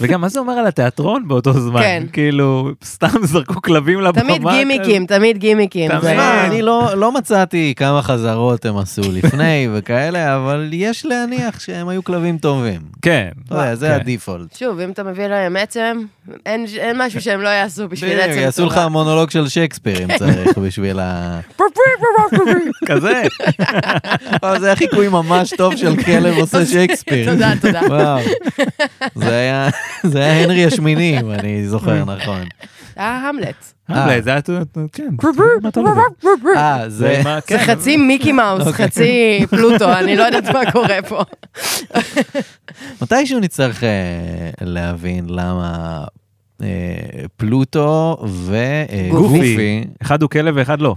S1: וגם מה זה אומר על התיאטרון באותו זמן?
S3: כן.
S1: כאילו, סתם זרקו כלבים לבמה.
S3: תמיד
S1: כזה.
S3: גימיקים, תמיד גימיקים.
S1: תמיד.
S3: זה-
S2: תשמע, אני לא לא מצאתי כמה חזרות הם עשו לפני (laughs) וכאלה, אבל יש להניח שהם היו כלבים טובים.
S1: כן.
S2: אתה יודע, לא, זה
S1: כן.
S2: הדיפולט.
S3: שוב, אם אתה מביא להם עצם, אין אין משהו שהם לא יעשו בשביל
S2: בדיוק,
S3: עצם.
S2: יעשו לך
S3: (laughs) טובה.
S2: מונולוג של שייקספיר אם
S3: (laughs)
S2: צריך בשביל ה...
S1: כזה.
S2: אבל אה, זה היה חיקוי ממש טוב של
S3: (laughs)
S2: כלב עושה שייקספיר.
S3: תודה, תודה.
S2: וואו. זה היה- זה היה הנרי השמיני, אם אני
S1: (laughs)
S2: זוכר
S3: (laughs)
S2: נכון.
S3: זה ההמלט.
S1: אה, אולי זה היה... כן.
S2: אה, זה...
S1: זה מה-
S3: זה
S1: כן,
S3: חצי מיקי מאוס, חצי פלוטו, אני לא יודעת מה קורה פה.
S2: מתישהו נצטרך אה, להבין למה אה, פלוטו אה,
S3: גופי.
S2: וגופי.
S1: אחד הוא כלב ואחד לא.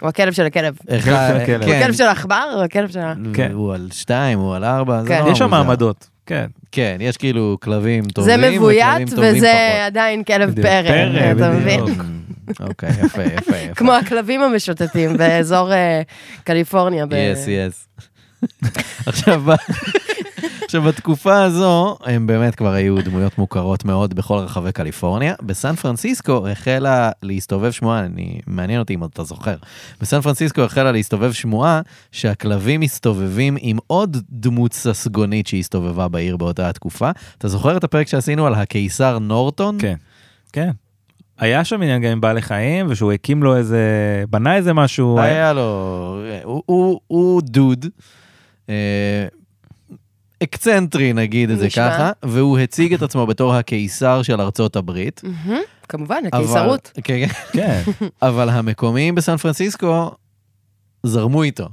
S3: הוא הכלב של הכלב.
S1: של הכלב.
S3: כן. הכלב של העכבר או הכלב של ה...
S1: כן.
S2: הוא כן, על שתיים, הוא על ארבע, זה
S3: כן.
S2: נורא
S1: יש שם
S2: לא, מוזר.
S1: מעמדות. כן.
S2: כן, יש כאילו כלבים
S3: זה
S2: טובים. וכלבים
S3: מבוית
S2: טובים
S3: וזה עדיין כלב
S1: בדיוק.
S3: פרא,
S1: פרא,
S3: אתה
S1: בדיוק.
S3: מבין? (laughs)
S2: פחות. Mm, אוקיי, יפה, יפה, יפה.
S3: כמו הכלבים המשוטטים באזור אה, קליפורניה. ב-
S2: יס, יס. (laughs) עכשיו, ב- עכשיו, בתקופה הזו, הם באמת כבר היו דמויות מוכרות מאוד בכל רחבי קליפורניה. בסן פרנסיסקו החלה להסתובב שמועה, אני, מעניין אותי אם אתה זוכר, בסן פרנסיסקו החלה להסתובב שמועה שהכלבים מסתובבים עם עוד דמות ססגונית שהסתובבה בעיר באותה התקופה. אתה זוכר את הפרק שעשינו על הקיסר נורטון?
S1: כן. כן. היה שם עניין גם עם בעלי חיים, ושהוא הקים לו איזה... בנה איזה משהו.
S3: אה,
S2: היה לו, אה, הוא, הוא, הוא דוד, אה, אקצנטרי נגיד את זה
S3: נשמע.
S2: ככה, והוא הציג את עצמו בתור הקיסר של ארצות הברית.
S3: מהמם, כמובן,
S2: אבל-
S3: הקיסרות.
S2: כן, כן.
S1: כן.
S2: אבל המקומיים בסן פרנסיסקו זרמו איתו.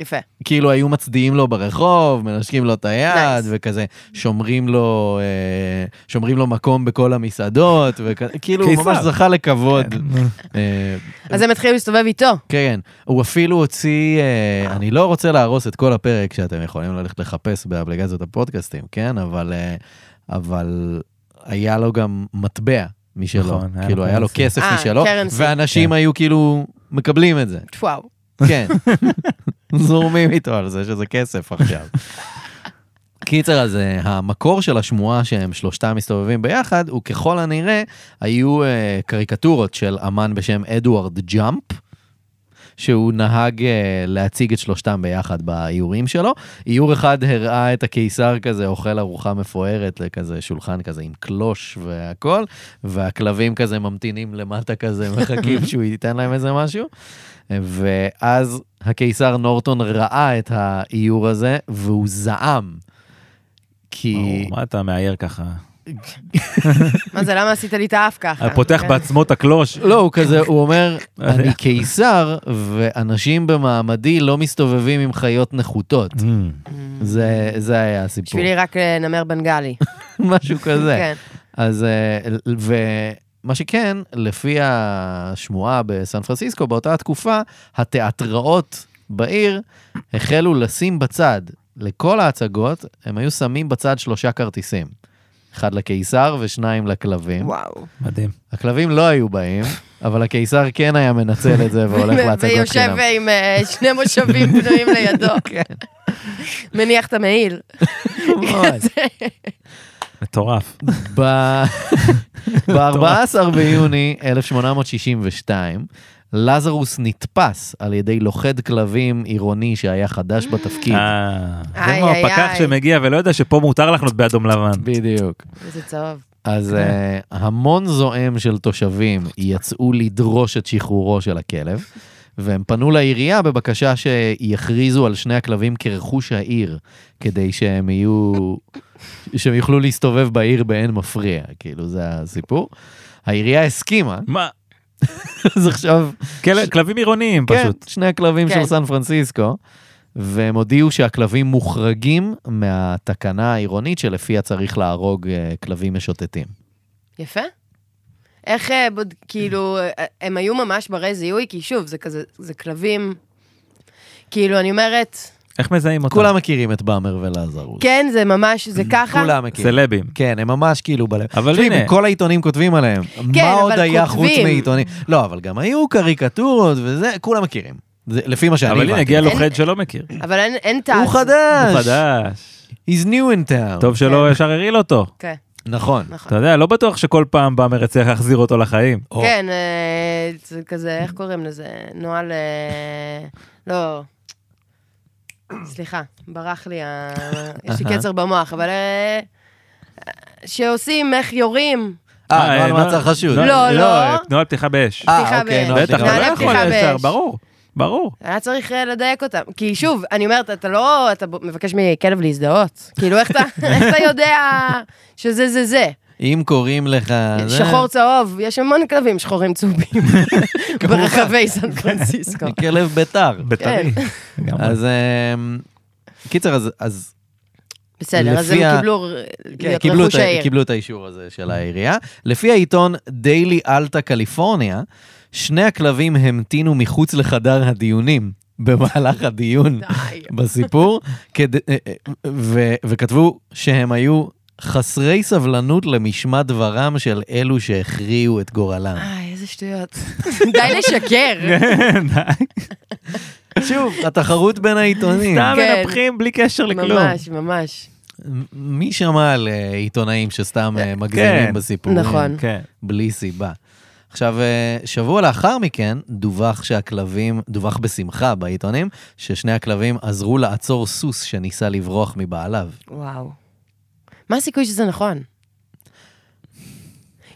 S3: יפה.
S2: כאילו היו מצדיעים לו ברחוב, מנשקים לו את היד
S3: Nice.
S2: וכזה, שומרים לו, אה, שומרים לו מקום בכל המסעדות, וכאילו הוא ממש
S1: קיסר.
S2: זכה
S3: כן.
S2: לכבוד. אה,
S3: אז הם התחילו להסתובב איתו.
S2: כן, הוא אפילו הוציא, אה, אני לא רוצה להרוס את כל הפרק שאתם יכולים ללכת לחפש באפליקציות הפודקאסטים, כן? אבל, אה, אבל היה לו גם מטבע משלו,
S1: נכון, היה לו
S2: כאילו היה לו
S1: currency.
S2: כסף
S3: אה,
S2: משלו,
S3: currency.
S2: ואנשים
S1: כן.
S2: היו כאילו
S1: (laughs)
S2: מקבלים את זה,
S3: וואו.
S2: כן. זורמים איתו על זה שזה
S1: (laughs)
S2: כסף עכשיו. קיצר, אז אה, המקור של השמועה שהם שלושתם מסתובבים ביחד, הוא ככל הנראה, היו אה, קריקטורות של אמן בשם אדוארד ג'אמפ, שהוא נהג אה, להציג את שלושתם ביחד באיורים שלו. איור אחד הראה את הקיסר כזה אוכל ארוחה מפוארת לכזה שולחן כזה עם קלוש והכל, והכלבים כזה ממתינים
S1: (laughs)
S2: למטה כזה, מחכים שהוא ייתן להם איזה משהו. ואז הקיסר נורטון ראה את האיור הזה והוא זעם. כי...
S1: ברור, מה אתה מאייר ככה?
S2: אה,
S3: מה זה, למה עשית לי את האף ככה?
S1: פותח
S2: אה.
S3: כן.
S1: בעצמו את הקלוש.
S2: לא, הוא כזה, הוא
S1: (laughs)
S2: אומר,
S1: יודע.
S2: אני קיסר, ואנשים במעמדי לא מסתובבים עם חיות נחותות.
S1: אמ,
S2: זה, זה היה הסיפור.
S3: Mm. בשבילי רק אה, נמר בנגלי.
S2: (laughs) משהו כזה.
S3: כן.
S2: אז, אה, ומה שכן, לפי השמועה בסן פרנסיסקו, באותה התקופה, התיאטראות בעיר החלו לשים בצד, לכל ההצגות, הם היו שמים בצד שלושה כרטיסים. אחד לקיסר ושניים לכלבים.
S3: וואו.
S1: מדהים.
S2: הכלבים לא היו באים, אבל הקיסר כן היה מנצל את זה
S3: (laughs)
S2: והולך להצגות
S3: ויושב
S2: חינם.
S3: עם אה, שני מושבים פנויים לידו,
S2: (laughs) כן,
S3: מניח את המעיל.
S2: ממש.
S1: מטורף.
S2: (laughs) ב-14 ביוני 1862, לזרוס נתפס על ידי לוכד כלבים עירוני שהיה חדש בתפקיד.
S1: אה, זה
S3: איי,
S1: כמו
S3: איי,
S1: הפקח
S3: איי.
S1: שמגיע ולא יודע שפה מותר לחנות באדום לבן.
S2: בדיוק.
S3: איזה צהוב.
S2: אז אה, המון זועם של תושבים יצאו לדרוש את שחרורו של הכלב, והם פנו לעירייה בבקשה שיכריזו על שני הכלבים כרכוש העיר, כדי שהם יהיו... שהם יוכלו להסתובב בעיר באין מפריע, כאילו זה הסיפור. העירייה הסכימה,
S1: מה?
S2: (laughs) אז עכשיו
S1: כל- כלבים עירוניים פשוט.
S2: כן, שני הכלבים
S3: כן.
S2: של סן פרנסיסקו, והם הודיעו שהכלבים מוחרגים מהתקנה העירונית שלפיה צריך להרוג אה, כלבים משוטטים.
S3: יפה. איך, אה, בוד- כאילו, אה, הם היו ממש ברי זיהוי, כי שוב, זה כזה, זה כלבים. כאילו, אני אומרת,
S1: איך מזהים אותם?
S2: כולם מכירים את באמר ולעזרוס.
S3: כן, זה ממש, זה ככה.
S2: כולם מכירים.
S1: סלבים.
S2: כן, הם ממש כאילו בלב.
S1: אבל
S2: תשמעי,
S1: הנה.
S2: כל העיתונים כותבים עליהם.
S3: כן,
S2: מה עוד
S3: אבל
S2: היה חוץ
S3: כותבים.
S2: מעיתונים? לא, אבל גם היו קריקטורות וזה, כולם מכירים. זה לפי מה שאני
S1: אבל הנה,
S2: הבנתי.
S1: הגיע לוכד שלא מכיר.
S3: אבל אין, אין טעם.
S2: הוא חדש.
S1: הוא חדש.
S2: He's new in town.
S1: טוב שלא ישר הרעיל אותו.
S3: כן,
S2: נכון.
S3: נכון.
S1: אתה יודע, לא בטוח שכל פעם באמר יצליח להחזיר אותו לחיים.
S2: או,
S3: כן, אה, זה כזה, איך קוראים לזה? נוהל... אה, לא. סליחה, ברח לי ה...
S2: (laughs)
S3: יש לי קצר במוח, אבל... אה, שעושים, איך יורים.
S2: אה, נוהל
S1: נוהל-
S2: מעצר חשוד.
S1: נוהל-
S3: לא, לא.
S1: נוהל פתיחה באש.
S2: אה,
S3: פתיחה
S2: אוקיי,
S3: באש.
S2: נוהל
S1: בטח, אתה
S2: נעלי
S1: לא
S3: נוהל
S1: יכול
S3: פתיחה
S1: ישר,
S3: באש.
S1: ברור. ברור.
S3: היה צריך אה, לדייק אותם. כי שוב, אני אומרת, אתה לא... אתה ב- מבקש מכלב להזדהות.
S2: (laughs)
S3: כאילו, איך אתה, איך אתה יודע שזה זה זה?
S2: אם קוראים לך... זה-
S3: שחור צהוב, יש המון כלבים שחורים צהובים
S2: (laughs)
S3: (laughs) ברחבי סן
S2: כן.
S3: פרנסיסקו.
S2: כלב ביתר.
S3: כן.
S1: בית"רי.
S3: (laughs)
S1: לגמרי.
S2: אז אמ, קיצר, אז- אז
S3: בסדר, אז הם
S2: לפי ה-
S3: קיבלו ר-
S2: כן,
S3: להיות
S2: קיבלו
S3: רכוש
S2: את ה-
S3: העיר.
S2: קיבלו את האישור הזה של העירייה. לפי העיתון דיילי אלטה קליפורניה, שני הכלבים המתינו מחוץ לחדר הדיונים במהלך הדיון
S3: די.
S2: בסיפור, כד... אה, אה, ו... וכתבו שהם היו חסרי סבלנות למשמע דברם של אלו שהכריעו את גורלם.
S3: איי, איזה
S2: (laughs)
S3: שטויות. די לשקר.
S2: שוב, התחרות בין העיתונים.
S1: (laughs) סתם
S3: כן.
S1: מנפחים בלי קשר לכלום.
S3: ממש, ממש.
S2: מ- מי שמע על אה, עיתונאים שסתם אה,
S1: כן.
S2: מגזימים בסיפורים?
S3: נכון.
S1: כן.
S2: בלי סיבה. עכשיו, אה, שבוע לאחר מכן דווח שהכלבים, דווח בשמחה בעיתונים, ששני הכלבים עזרו לעצור סוס שניסה לברוח מבעליו.
S3: וואו. מה הסיכוי שזה נכון?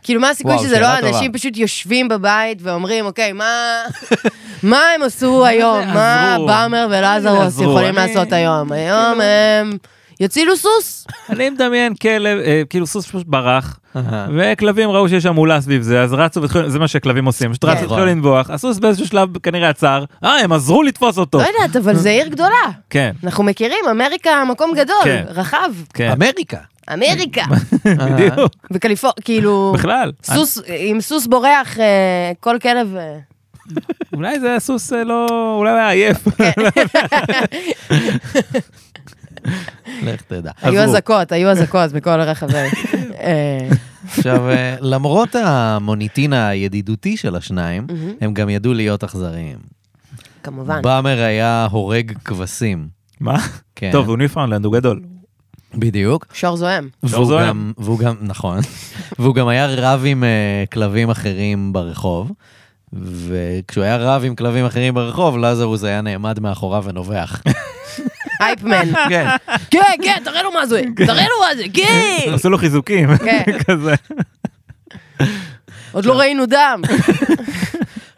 S3: כאילו, מה הסיכוי
S2: וואו,
S3: שזה לא
S2: שאלה טובה.
S3: אנשים פשוט יושבים בבית ואומרים, אוקיי, מה... (laughs) מה הם עשו היום? מה
S1: עזרו?
S3: באמר ולעזרוס
S1: עזרו?
S3: יכולים
S1: אני-
S3: לעשות היום? היום הם יצילו סוס.
S1: אני מדמיין כלב, אה, כאילו סוס פשוט ברח,
S2: אהה.
S1: וכלבים ראו שיש המולה סביב זה, אז רצו והתחילו, זה מה שכלבים עושים, פשוט רצו
S2: נכון.
S1: והתחילו לנבוח, הסוס באיזשהו שלב כנראה עצר, אה, הם עזרו לתפוס אותו.
S3: לא יודעת, אבל זה עיר גדולה.
S1: כן,
S3: אנחנו מכירים, אמריקה מקום גדול,
S1: כן.
S3: רחב.
S1: כן,
S2: אמריקה.
S3: אמריקה.
S2: אה,
S1: (laughs) בדיוק,
S3: בקליפורניה, כאילו...
S1: בכלל.
S3: סוס, עם סוס בורח, אה, כל כלב... אה,
S1: אולי זה הסוס אה, לא, אולי הוא היה עייף. (laughs)
S2: לך תדע.
S3: היו
S1: עזרו.
S3: אזעקות, היו אזעקות בכל רחבי. אה,
S2: עכשיו, אה, למרות המוניטין הידידותי של השניים,
S3: מהמם.
S2: הם גם ידעו להיות אכזריים.
S3: כמובן.
S2: באמר היה הורג כבשים.
S1: מה?
S2: כן.
S1: טוב, הוא ניפאונדלנד, הוא גדול.
S2: בדיוק.
S3: שור זוהם.
S1: שור
S2: והוא
S1: זועם.
S2: גם, והוא גם, נכון, (laughs) והוא גם היה רב עם אה, כלבים אחרים ברחוב, וכשהוא היה רב עם כלבים אחרים ברחוב, לזרוס היה נעמד מאחוריו ונובח.
S3: אייפמן.
S2: (laughs) כן,
S3: כן, כן, תראה לו מה זה, תראה לו מה זה, כן.
S1: עשו לו חיזוקים,
S3: (laughs) כן.
S1: כזה.
S3: עוד לא ראינו דם.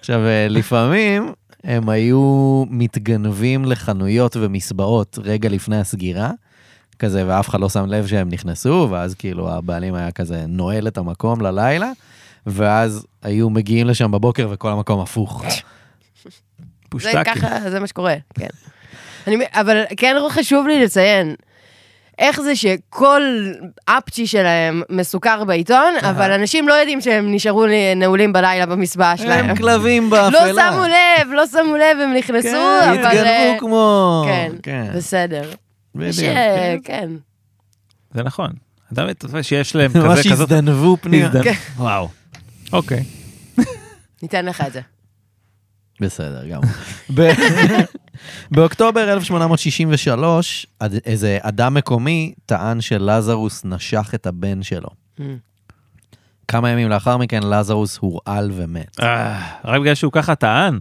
S2: עכשיו, אה, לפעמים הם היו מתגנבים לחנויות ומסבעות רגע לפני הסגירה, כזה, ואף אחד לא שם לב שהם נכנסו, ואז כאילו הבעלים היה כזה נועל את המקום ללילה, ואז היו מגיעים לשם בבוקר וכל המקום הפוך.
S3: זה
S1: פושטקים.
S3: ככה, זה מה שקורה, כן. אני, מ- אבל כן חשוב לי לציין, איך זה שכל אפצ'י שלהם מסוכר בעיתון, אבל אנשים לא יודעים שהם נשארו נעולים בלילה במסבעה שלהם.
S2: אה, הם כלבים
S3: לא
S2: באפלה.
S3: שמו לב, לא שמו לב, הם נכנסו,
S2: כן,
S3: אבל... אה,
S2: התגנבו כמו...
S3: כן,
S2: כן,
S3: בסדר.
S2: בדיוק.
S3: ש- כן.
S1: זה נכון. אדם מתופף שיש להם
S2: ממש
S1: כזה כזאת...
S2: הזדנבו פנימה. כן.
S1: הזדמנות. וואו. אוקיי.
S3: ניתן לך את זה.
S2: בסדר,
S1: (laughs)
S2: גם. ב- באוקטובר 1863, אד- איזה אדם מקומי טען שלזרוס נשך את הבן שלו. כמה ימים לאחר מכן, לזרוס הורעל ומת.
S1: אה, רק בגלל שהוא ככה טען.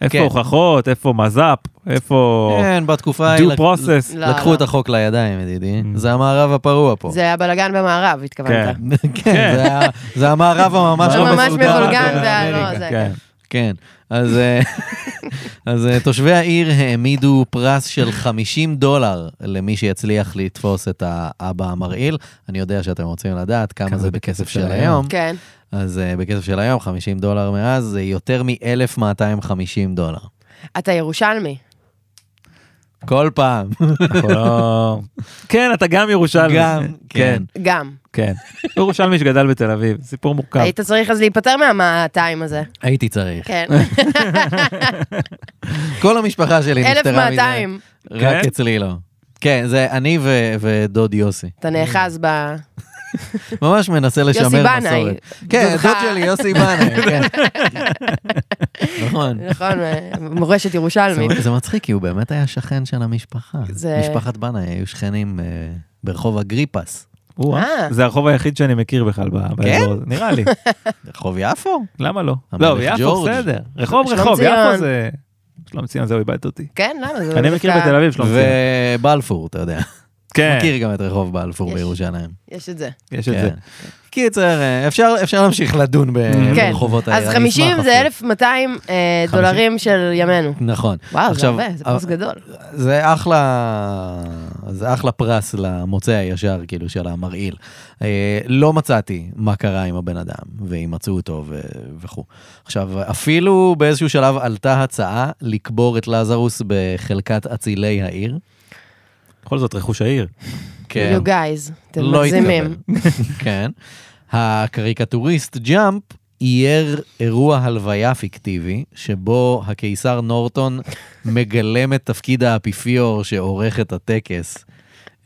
S1: איפה
S2: כן.
S1: הוכחות, איפה מז"פ, איפה...
S2: כן, בתקופה ההיא...
S1: due
S2: לק-
S1: process. Mm.
S3: לא,
S2: לקחו
S3: לא.
S2: את החוק לידיים, ידידי. זה המערב הפרוע פה.
S3: Mm. זה הבלגן במערב, התכוונת.
S1: כן.
S2: (laughs) כן, זה ה- זה המערב הממש
S3: זה
S2: לא
S3: ממש
S2: מסודר
S3: מבולגן
S2: באמריקה.
S3: והלא, זה-
S1: כן.
S2: כן, אז, אה, (laughs) אז אה, תושבי העיר העמידו פרס של 50 דולר למי שיצליח לתפוס את האבא המרעיל. אני יודע שאתם רוצים לדעת כמה זה בכסף של היום.
S3: כן.
S2: אז אה, בכסף של היום, 50 דולר מאז, זה יותר מ-1,250 דולר.
S3: אתה ירושלמי.
S2: כל פעם. (laughs)
S1: אנחנו לא... כן, אתה גם ירושלמי.
S2: גם, כן.
S3: גם.
S1: כן. ירושלמי שגדל בתל אביב, סיפור מורכב.
S3: היית צריך אז להיפטר
S2: (laughs)
S3: מהמאתיים הזה.
S2: הייתי צריך.
S3: כן.
S2: כל המשפחה שלי נפטרה מזה.
S3: 1200.
S2: רק
S1: כן?
S2: אצלי לא. כן, זה אני ו- ודוד יוסי.
S3: אתה נאחז ב...
S2: ממש מנסה לשמר
S3: בנאי.
S2: מסורת. כן,
S3: דודך.
S2: דוד שלי, יוסי בנאי,
S3: (laughs)
S2: כן. נכון.
S3: נכון,
S2: (laughs)
S3: מורשת ירושלמית.
S2: זה- זה מצחיק, כי הוא באמת היה שכן של המשפחה.
S3: זה-
S2: משפחת בנאי היו שכנים אה, ברחוב אגריפס.
S1: או-אה,
S3: אה. כן?
S1: זה הרחוב היחיד שאני מכיר בכלל ב- באזור הזה. נראה
S3: (laughs)
S1: לי.
S2: רחוב יפו?
S1: למה לא?
S2: המלך
S1: לא, יפו
S2: ג'ורג'.
S1: בסדר. רחוב,
S3: שלום
S1: רחוב,
S3: ציון.
S1: יפו זה... שלום ציון, זהו, איבדת אותי.
S3: כן, למה? זה
S1: אני
S3: דווקא-
S1: מכיר בתל אביב שלום ציון.
S2: ובלפור, אתה יודע.
S1: כן,
S2: מכיר גם את רחוב בלפור
S3: יש.
S2: בירושלים.
S3: יש את זה.
S1: יש את
S2: כן.
S1: זה.
S2: קיצר, אה, אפשר אפשר להמשיך לדון ב-
S3: כן.
S2: ברחובות העיר.
S3: אז
S2: אני
S3: 50
S2: אשמח
S3: זה
S2: אפילו.
S3: 1,200 אה, דולרים של ימינו.
S2: נכון.
S3: וואו, זה
S2: עכשיו,
S3: הרבה, זה
S2: אבל-
S3: פרס גדול.
S2: זה אחלה, זה אחלה פרס למוצא הישר, כאילו, של המרעיל. אה, לא מצאתי מה קרה עם הבן אדם, ואם מצאו אותו ו- וכו'. עכשיו, אפילו באיזשהו שלב עלתה הצעה לקבור את לזרוס בחלקת אצילי העיר.
S1: בכל זאת, רכוש העיר.
S2: כן.
S3: You guys, אתם
S2: לא
S3: מגזימים.
S2: התקבל. (laughs) כן. הקריקטוריסט ג'אמפ אייר אירוע הלוויה פיקטיבי, שבו הקיסר נורטון מגלם את תפקיד האפיפיור שעורך את הטקס,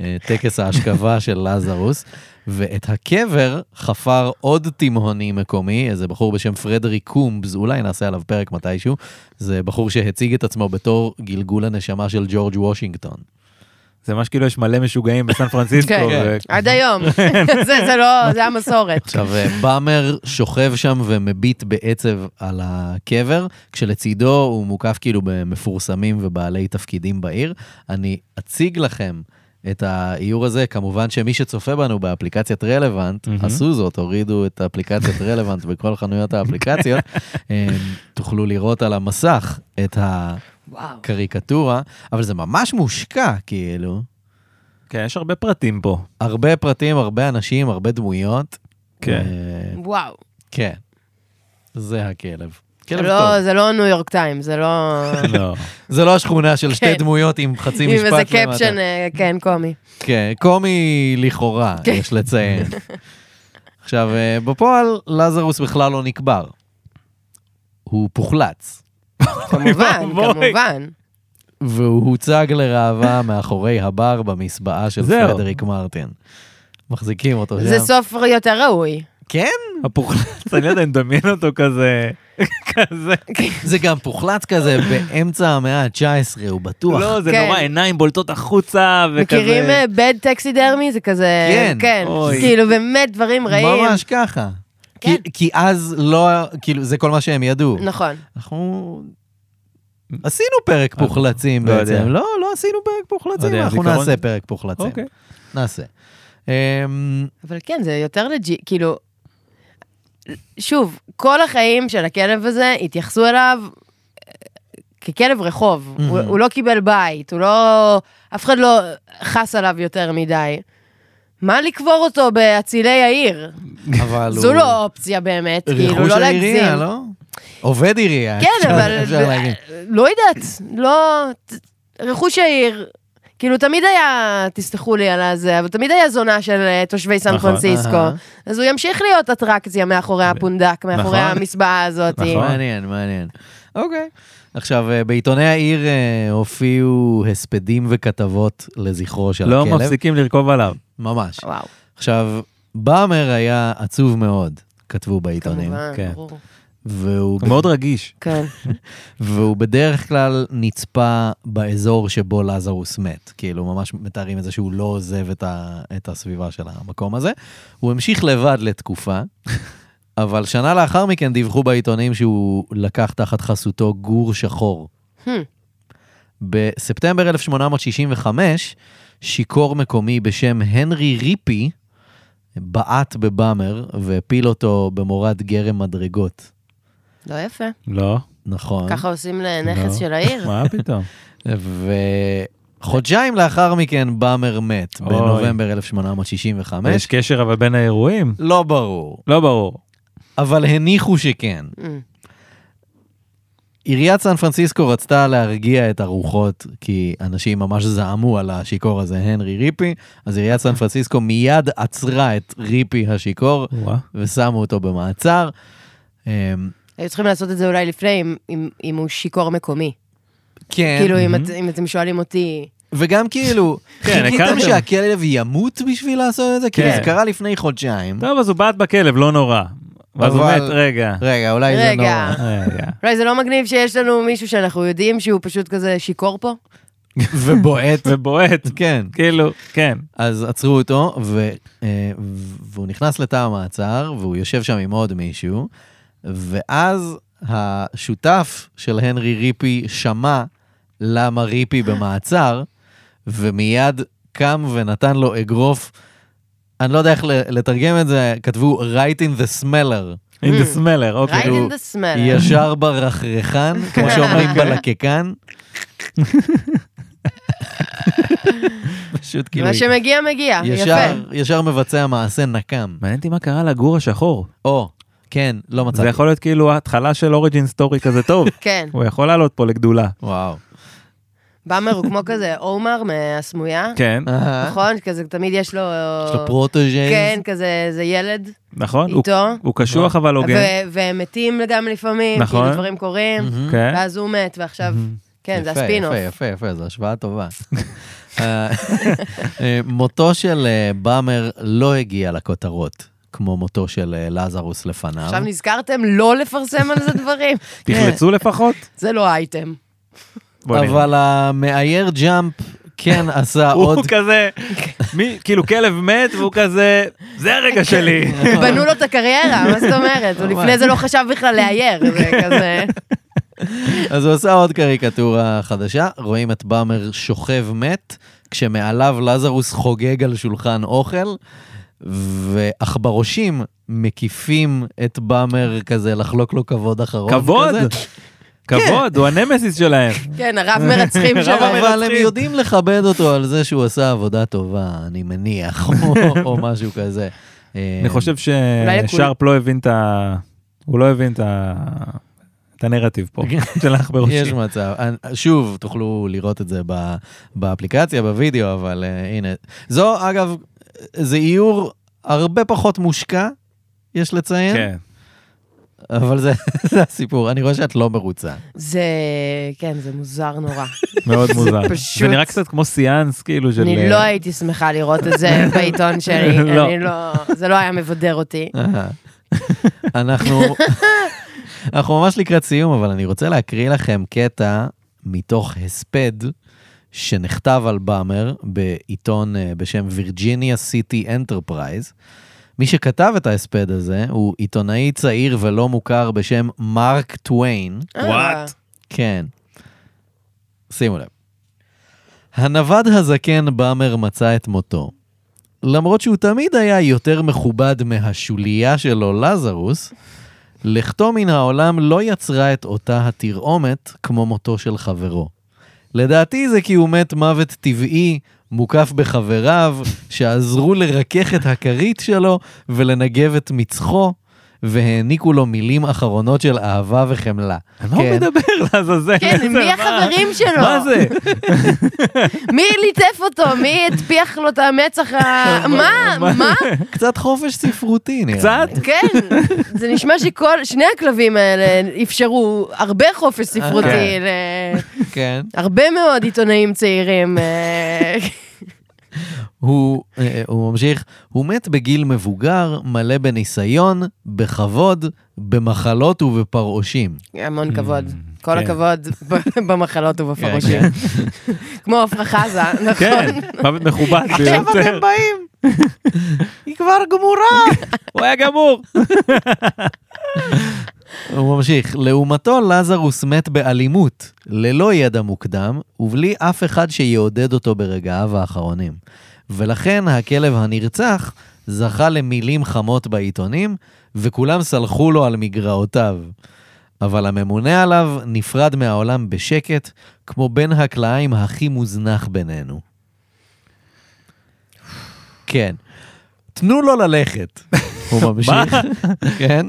S2: אה, טקס ההשכבה של לזרוס, ואת הקבר חפר עוד תימהוני מקומי, איזה בחור בשם פרדריק קומבס, אולי נעשה עליו פרק מתישהו, זה בחור שהציג את עצמו בתור גלגול הנשמה של ג'ורג' וושינגטון.
S1: זה ממש כאילו יש מלא משוגעים בסן פרנסיסקו.
S3: כן.
S1: ו-
S2: (laughs)
S3: עד היום. זה זה לא, זה המסורת.
S2: עכשיו, אה, באמר שוכב שם ומביט בעצב על הקבר, כשלצידו הוא מוקף כאילו במפורסמים ובעלי תפקידים בעיר. אני אציג לכם את האיור הזה, כמובן שמי שצופה בנו באפליקציית רלוונט,
S1: מהמם.
S2: עשו זאת, הורידו את אפליקציית רלוונט בכל
S1: (laughs)
S2: חנויות האפליקציות, אה, תוכלו לראות על המסך את
S3: וואו.
S2: הקריקטורה, אבל זה ממש מושקע, כאילו.
S1: כן, יש הרבה פרטים פה.
S2: הרבה פרטים, הרבה אנשים, הרבה דמויות.
S1: כן.
S2: אה,
S3: וואו.
S2: כן. זה הכלב. כלב
S3: לא-
S2: כן, טוב.
S3: זה לא ניו יורק טיים, זה לא...
S2: (laughs)
S1: לא.
S2: זה לא השכונה של שתי
S3: כן.
S2: דמויות עם חצי
S3: עם
S2: משפט
S3: איזה
S2: למטה.
S3: קפשן, אה, כן,
S2: (laughs)
S3: קומי.
S2: כן, קומי לכאורה,
S3: כן.
S2: יש
S3: (laughs)
S2: לציין. עכשיו, אה, בפועל, לזרוס בכלל לא נקבר. הוא פוחלץ,
S3: כמובן,
S1: ואבוי.
S3: כמובן.
S2: והוא הוצג
S3: (laughs)
S2: לראווה מאחורי הבר במסבעה של
S1: זהו.
S2: פרדריק מרטין. מחזיקים אותו שם.
S3: זה סוף יותר ראוי.
S2: כן?
S1: הפוחלץ, אני לא יודע, אני מדמיין אותו כזה, (laughs) כזה.
S2: זה גם פוחלץ כזה באמצע המאה ה-19, הוא בטוח.
S1: לא, זה
S3: כן.
S1: נורא, עיניים בולטות החוצה, וכזה.
S3: מכירים אה, בד טקסידרמי? זה כזה...
S2: כן.
S3: כן.
S1: אוי.
S3: כאילו, באמת דברים רעים.
S2: ממש ככה.
S3: כן.
S2: כי, כי אז לא, כאילו, זה כל מה שהם ידעו.
S3: נכון.
S2: אנחנו... עשינו פרק פוחלצים
S1: לא
S2: בעצם.
S1: יודע.
S2: לא, לא עשינו פרק
S1: לא
S2: פוחלצים,
S1: יודע,
S2: אנחנו
S1: זיכרון-
S2: נעשה פרק פוחלצים.
S1: אוקיי.
S2: נעשה.
S1: (laughs)
S2: אמ,
S3: אבל כן, זה יותר לג'י, כאילו... שוב, כל החיים של הכלב הזה התייחסו אליו אה, ככלב רחוב.
S2: Mhm.
S3: הוא, הוא לא קיבל בית, הוא לא... אף אחד לא חס עליו יותר מדי. מה לקבור אותו באצילי העיר?
S2: אבל הוא...
S3: זו לא אופציה באמת, כאילו,
S2: רכוש
S3: לא
S2: של
S3: להגזים.
S2: עירייה, לא? עובד עירייה.
S3: כן,
S2: אפשר-
S3: אבל...
S1: (laughs)
S2: אפשר להגיד.
S3: לא יודעת, לא... רכוש העיר. כאילו, תמיד היה, תסלחו לי על הזה, אבל תמיד היה זונה של אה, תושבי סן
S1: נכון,
S3: פרנסיסקו.
S2: אהה.
S3: אז הוא ימשיך להיות אטרקציה מאחורי הפונדק, מאחורי
S1: נכון.
S3: המסבעה הזאת.
S1: נכון.
S2: מעניין, מעניין. אוקיי. עכשיו, אה, בעיתוני העיר אה, הופיעו הספדים וכתבות לזכרו של
S1: לא
S2: הכלב.
S1: מפסיקים לרכוב עליו.
S2: ממש.
S3: וואו,
S2: עכשיו, באמר היה עצוב מאוד, כתבו בעיתונים,
S3: כמובן,
S1: כן.
S3: ברור.
S2: והוא,
S1: הוא מאוד רגיש.
S3: כן,
S2: והוא בדרך כלל נצפה באזור שבו לזרוס מת. כאילו, ממש מתארים את זה שהוא לא עוזב את, ה, את הסביבה של המקום הזה. הוא המשיך לבד לתקופה, (laughs) אבל שנה לאחר מכן דיווחו בעיתונים שהוא לקח תחת חסותו גור שחור.
S3: Hmm.
S2: בספטמבר 1865, שיכור מקומי בשם הנרי ריפי בעט בבאמר והפיל אותו במורד גרם מדרגות.
S3: לא יפה.
S1: לא.
S2: נכון.
S3: ככה עושים לנכס
S1: לא.
S3: של
S2: (laughs)
S3: העיר.
S1: מה פתאום?
S2: וחודשיים לאחר מכן באמר מת,
S1: אוי.
S2: בנובמבר
S1: יש
S2: 1865.
S1: קשר אבל בין האירועים?
S2: לא ברור,
S1: לא ברור.
S2: אבל הניחו שכן.
S3: Mm.
S2: עיריית סן פרנסיסקו רצתה להרגיע את הרוחות, כי אנשים ממש זעמו על השיכור הזה, הנרי ריפי, אז עיריית סן פרנסיסקו מיד עצרה את ריפי השיכור,
S1: וואה.
S2: ושמו אותו במעצר. אמ,
S3: היו צריכים לעשות את זה אולי לפני, אם- אם- אם הוא שיכור מקומי.
S2: כן,
S3: כאילו, אם את- אם אתם שואלים אותי...
S2: וגם
S1: (laughs)
S2: כאילו,
S1: כן,
S2: חיכיתם
S1: הכרתם.
S2: שהכלב ימות בשביל לעשות את זה? כאילו
S1: כן.
S2: זה קרה לפני חודשיים.
S1: טוב, אז הוא בעט בכלב, לא נורא. ואז הוא
S2: אבל-
S1: מת, רגע.
S2: רגע, אולי זה
S3: רגע.
S2: נורא.
S1: רגע.
S3: אולי זה לא מגניב שיש לנו מישהו שאנחנו יודעים שהוא פשוט כזה שיכור פה?
S2: ובועט.
S1: ובועט,
S2: כן.
S1: כאילו, כן.
S2: אז עצרו אותו, ו, אה, והוא נכנס לתא המעצר, והוא יושב שם עם עוד מישהו, ואז השותף של הנרי ריפי שמע למה ריפי במעצר, ומיד קם ונתן לו אגרוף. אני לא יודע איך ל- לתרגם את זה, כתבו right in the smeller,
S1: In the smeller,
S3: Hmm. Right
S1: אוקיי.
S2: כאילו,
S3: in the smell.
S2: ישר ברחרחן, כמו שאומרים בלקקן. פשוט כאילו,
S3: מה שמגיע, מגיע. אה, יפה.
S2: ישר, ישר מבצע מעשה נקם.
S1: מעניין אותי מה קרה לגור השחור.
S2: או, כן, לא מצאתי.
S1: זה יכול להיות כאילו ההתחלה של אוריג'ין סטורי כזה
S3: (laughs)
S1: טוב.
S3: כן.
S1: הוא יכול לעלות פה לגדולה.
S2: וואו.
S3: באמר הוא כמו כזה עומר מהסמויה.
S1: (laughs) כן,
S2: אהה.
S3: נכון? כזה תמיד יש לו...
S2: יש לו פרוטוג'ייז.
S3: כן, כזה, זה ילד
S1: נכון. הוא-
S3: איתו.
S1: הוא קשוח
S2: נכון.
S1: אבל הוגן.
S3: ו- והם מתים גם לפעמים,
S1: נכון.
S3: כאילו דברים קורים,
S2: Hmm.
S1: כן.
S3: ואז הוא מת, ועכשיו... כן, זה
S2: יפה,
S3: הספינוף.
S2: יפה, יפה, יפה, זו השוואה טובה. אה, אה, מותו של אה, באמר לא הגיע לכותרות, כמו מותו של אה, לזרוס לפניו.
S3: עכשיו נזכרתם לא לפרסם על זה דברים?
S1: (laughs)
S3: כן.
S1: תחלצו לפחות.
S3: זה לא אייטם.
S1: בוא נראה.
S2: אבל המאייר ג'אמפ כן עשה
S1: (laughs)
S2: עוד...
S1: הוא כזה,
S3: (laughs)
S1: מי, כאילו כלב מת והוא כזה, זה
S3: כן.
S1: הרגע שלי.
S3: (laughs) בנו לו את הקריירה, מה זאת אומרת? הוא לפני זה לא חשב בכלל לאייר, זה
S1: (laughs)
S3: כזה...
S2: אז הוא עשה עוד קריקטורה חדשה, רואים את באמר שוכב מת, כשמעליו לזרוס חוגג על שולחן אוכל, ועכברושים מקיפים את באמר כזה לחלוק לו כבוד אחרון.
S1: כבוד,
S2: כזה.
S1: כבוד, הוא הנמסיס שלהם.
S3: כן, הרב מרצחים
S1: הרב
S3: שלהם.
S2: אבל הם
S1: מרצחים.
S2: יודעים לכבד אותו על זה שהוא עשה עבודה טובה, אני מניח, (laughs) או, או משהו כזה.
S1: אני חושב
S3: אולי לכולם.
S1: ששרפ לא הבין את ה... הוא לא הבין את ה... את הנרטיב פה, של האח
S2: כן. יש
S1: בראשי.
S2: מצב. אני- שוב, תוכלו לראות את זה ב- באפליקציה, בווידאו, אבל אה, הנה. זו, אגב, זה איור הרבה פחות מושקע, יש לציין,
S1: כן.
S2: אבל זה, (laughs) זה הסיפור. אני רואה שאת לא מרוצה.
S3: זה... כן, זה מוזר נורא.
S1: מאוד מוזר.
S3: פשוט-
S1: זה נראה קצת כמו סיאנס, כאילו, של...
S3: אני לא הייתי שמחה לראות
S1: (laughs)
S3: את זה בעיתון שלי.
S1: לא.
S3: אני לא... זה לא היה מבדר אותי.
S2: אהה. אה. אנחנו, אנחנו ממש לקראת סיום, אבל אני רוצה להקריא לכם קטע מתוך הספד שנכתב על באמר בעיתון אה, בשם וירג'יניה סיטי אנטרפרייז. מי שכתב את ההספד הזה הוא עיתונאי צעיר ולא מוכר בשם מרק טוויין.
S3: אה,
S2: כן. שימו לב. הנווד הזקן באמר מצא את מותו. למרות שהוא תמיד היה יותר מכובד מהשוליה שלו, לזרוס, לכתו מן העולם לא יצרה את אותה התרעומת כמו מותו של חברו. לדעתי זה כי הוא מת מוות טבעי, מוקף בחבריו, שעזרו לרכך את הכרית שלו ולנגב את מצחו, והעניקו לו מילים אחרונות של אהבה וחמלה.
S1: על מה הוא
S2: כן.
S1: לא מדבר, (laughs) לעזאזל?
S3: כן,
S1: זה
S3: מי
S1: מה?
S3: החברים שלו?
S1: מה זה?
S3: מי ליטף אותו? מי הטפיח לו את המצח
S1: (laughs)
S3: ה... מה? מה?
S2: קצת חופש ספרותי נראה.
S1: קצת?
S2: לי.
S3: כן, זה נשמע שכל, שני הכלבים האלה אפשרו הרבה חופש ספרותי
S1: כן.
S2: כן.
S3: להרבה מאוד עיתונאים צעירים. אה, (laughs)
S2: הוא, אה, הוא ממשיך, הוא מת בגיל מבוגר, מלא בניסיון, בכבוד, במחלות ובפרעושים.
S3: המון כבוד. כל
S1: Mm, כן.
S3: הכבוד ב- (laughs) במחלות
S2: כן,
S3: ובפרושים. כמו עפרה חזה, נכון?
S1: (laughs) כן, מוות מכובד ביותר.
S2: באים! היא כבר גמורה!
S1: הוא היה גמור.
S2: כן. הוא ממשיך, לעומתו לזרוס מת באלימות, ללא ידע מוקדם, ובלי אף אחד שיעודד אותו ברגעיו האחרונים. ולכן הכלב הנרצח זכה למילים חמות בעיתונים, וכולם סלחו לו על מגרעותיו. אבל הממונה עליו נפרד מהעולם בשקט, כמו בן הקלעיים הכי מוזנח בינינו. כן. תנו לו ללכת, הוא ממשיך.
S1: מה?
S2: כן?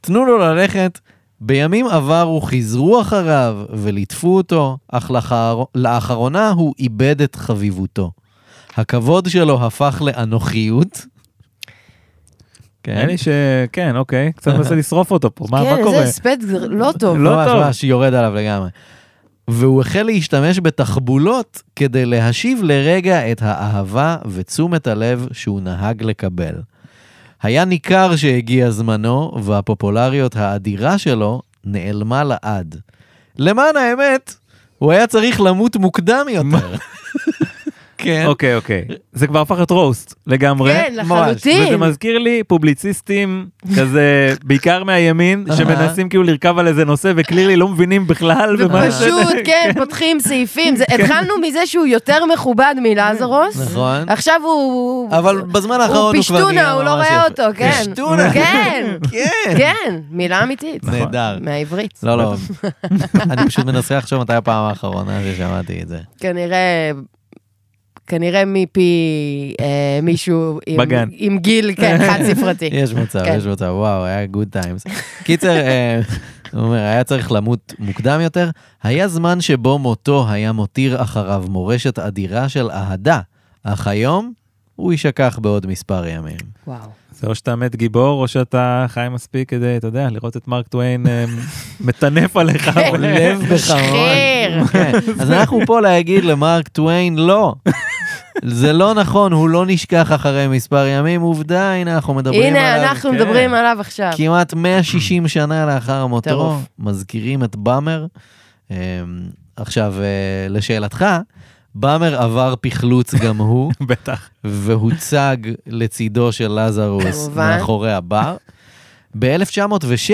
S2: תנו לו ללכת בימים עברו חיזרו אחריו וליטפו אותו, אך לאחר... לאחרונה הוא איבד את חביבותו. הכבוד שלו הפך לאנוכיות.
S1: נראה
S2: כן,
S1: לי שכן, אוקיי, קצת מנסה לשרוף אותו פה, מה מה
S3: כן,
S1: קורה?
S3: איזה הספד זה לא טוב.
S1: לא
S2: ממש
S1: טוב.
S2: ממש יורד עליו לגמרי. והוא החל להשתמש בתחבולות כדי להשיב לרגע את האהבה ותשומת הלב שהוא נהג לקבל. היה ניכר שהגיע זמנו, והפופולריות האדירה שלו נעלמה לעד. למען האמת, הוא היה צריך למות מוקדם יותר. (laughs) כן.
S1: אוקיי, אוקיי. זה כבר הפך להיות רוסט לגמרי.
S3: כן,
S2: ממש.
S1: וזה
S3: לחלוטין.
S1: מזכיר לי פובליציסטים כזה, בעיקר מהימין,
S2: אהה.
S1: שמנסים כאילו לרכב על איזה נושא וקלירלי לא מבינים בכלל במה זה.
S2: (laughs)
S3: פשוט, כן, פותחים סעיפים. זה- התחלנו מזה שהוא יותר מכובד מלזרוס.
S2: כן.
S1: אוקיי.
S2: נכון.
S3: עכשיו הוא...
S2: אבל בזמן האחרון הוא כבר נהיה ממש
S3: פשטונה, הוא לא רואה
S2: יפה.
S3: אותו, כן.
S2: פשטונה.
S3: כן,
S2: (laughs) כן. נכון.
S3: כן, מילה אמיתית.
S1: נכון.
S2: נהדר.
S3: מהעברית.
S2: לא, לא.
S3: (laughs)
S2: אני פשוט מנסה לחשוב מתי הפעם האחרונה ששמעתי את זה.
S3: כנראה... כנראה מפי אה, מישהו עם,
S1: בגן.
S3: עם גיל,
S2: (laughs)
S3: כן, חד ספרתי.
S2: יש מצב,
S3: כן.
S2: יש מצב, וואו, היה גוד טיימס. קיצר, אה, הוא אומר, היה צריך למות מוקדם יותר. היה זמן שבו מותו היה מותיר אחריו מורשת אדירה של אהדה, אך היום הוא יישכח בעוד מספר ימים.
S3: (laughs) וואו.
S1: זה או שאתה מת גיבור, או שאתה חי מספיק כדי, אתה יודע, לראות את מרק טוויין (laughs) אה, מטנף עליך. אבל-
S2: לב
S3: שחרר.
S2: בחרון. (laughs) כן. אז אנחנו פה להגיד למרק טוויין, לא. זה לא נכון, הוא לא נשכח אחרי מספר ימים, עובדה, הנה אנחנו מדברים עליו.
S3: הנה, אנחנו
S1: כן.
S3: מדברים עליו עכשיו.
S2: כמעט 160 שנה לאחר מותו,
S3: טירוף.
S2: מזכירים את באמר. אמ, עכשיו, אה, לשאלתך, באמר עבר פחלוץ גם הוא,
S1: בטח.
S2: והוצג לצידו של לזרוס
S3: כמובן.
S2: מאחורי הבר. ב-1906,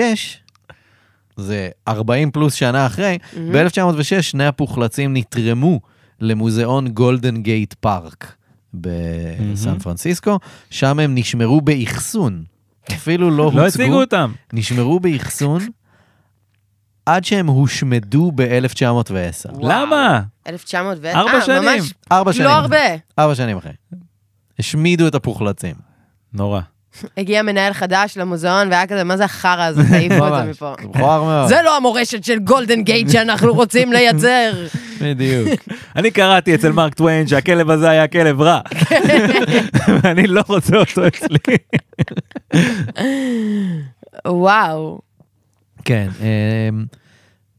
S2: זה 40 פלוס שנה אחרי, ב-1906 שני הפוחלצים נתרמו למוזיאון גולדן גייט פארק בסן פרנסיסקו, שם הם נשמרו באחסון. אפילו לא
S1: לא הציגו
S2: הוצגו,
S1: אותם.
S2: נשמרו באחסון עד שהם הושמדו ב-1910.
S3: וואו.
S1: למה?
S3: 1910.
S1: ארבע
S3: אה,
S1: שנים.
S3: ממש
S2: ארבע שנים.
S3: לא הרבה.
S2: ארבע שנים אחרי. השמידו את הפוחלצים.
S1: נורא.
S3: הגיע מנהל חדש למוזיאון והיה כזה, מה זה החרא הזה? (laughs) תעיפו אותו
S1: (laughs)
S2: ממש.
S3: מפה.
S2: זה מכוער מאוד.
S3: זה לא המורשת של גולדן גייט שאנחנו רוצים לייצר.
S2: בדיוק.
S3: (laughs)
S1: אני קראתי אצל מרק טוויין שהכלב הזה היה כלב (laughs) רע. ואני לא רוצה אותו אצלי.
S3: וואו.
S2: כן, אמ,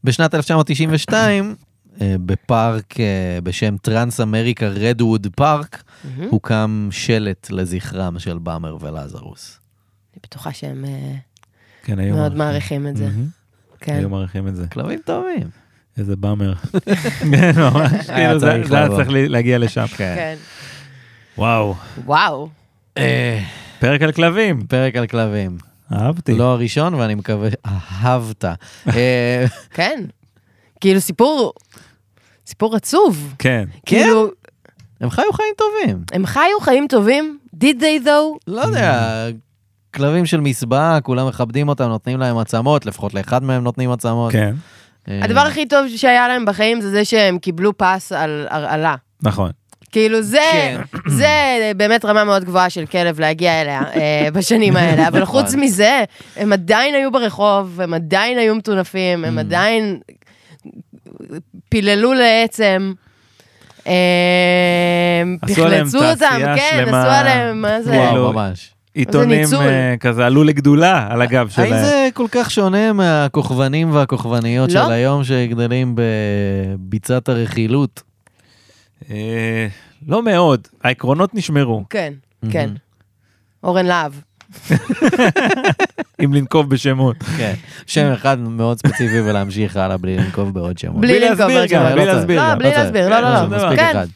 S2: בשנת 1992, אה, בפארק אה, בשם טרנס אמריקה רדווד פארק, הוקם שלט לזכרם של באמר ולזרוס.
S3: אני בטוחה שהם אה,
S1: כן, היו
S3: מאוד מעריכים את זה.
S1: מהמם.
S3: כן.
S1: היו מעריכים
S3: (laughs)
S1: את זה.
S2: כלבים טובים.
S1: איזה באמר. (laughs) כן, ממש.
S2: היה
S1: כאילו, זה
S2: צריך
S1: זה היה
S2: לבוא.
S1: צריך לי- להגיע לשם.
S3: כן.
S1: וואו.
S3: וואו.
S2: אה,
S1: פרק על כלבים.
S2: פרק על כלבים.
S1: אהבתי.
S2: לא הראשון, ואני מקווה שאהבת. אה,
S3: כן. כאילו סיפור, סיפור עצוב.
S1: כן.
S3: כאילו,
S2: הם חיו חיים טובים.
S3: הם חיו חיים טובים, did they though?
S2: לא יודע, כלבים של מסבעה, כולם מכבדים אותם, נותנים להם עצמות, לפחות לאחד מהם נותנים עצמות.
S1: כן.
S2: אה,
S3: הדבר הכי טוב שהיה להם בחיים זה זה שהם קיבלו פס על הרעלה.
S1: נכון.
S3: כאילו זה,
S2: כן.
S3: זה באמת רמה מאוד גבוהה של כלב להגיע אליה
S2: (laughs)
S3: אה, בשנים האלה, אבל
S2: נכון.
S3: חוץ מזה, הם עדיין היו ברחוב, הם עדיין היו מטונפים,
S2: Mm.
S3: הם עדיין פיללו לעצם. אה,
S1: עשו עליהם
S3: תחלצו
S1: תעשייה
S3: אותם, כן,
S1: שלמה.
S3: עשו עליהם, מה זה?
S1: כאילו,
S2: וואו, ממש.
S1: עיתונים
S3: ניצול. אה,
S1: אה, כזה עלו לגדולה על הגב
S2: האם
S1: שלהם.
S2: זה כל כך שונה מהכוכבנים והכוכבניות
S3: לא.
S2: של היום שגדלים בביצת הרכילות?
S1: אה, לא מאוד. העקרונות נשמרו,
S3: כן,
S2: Mm-hmm.
S3: כן. אורן להב.
S1: אם לנקוב בשמות.
S2: כן. שם אחד מאוד ספציפי ולהמשיך הלאה בלי לנקוב בעוד שמות.
S3: בלי לנקוב
S1: להסביר
S3: בשמות.
S1: גם, כן, בלי
S2: לא צריך.
S1: להסביר
S3: לא,
S1: גם.
S3: בלי
S2: צריך.
S3: להסביר,
S1: לא, לא,
S2: זה
S1: לא.
S2: מספיק
S3: כן.
S2: אחד.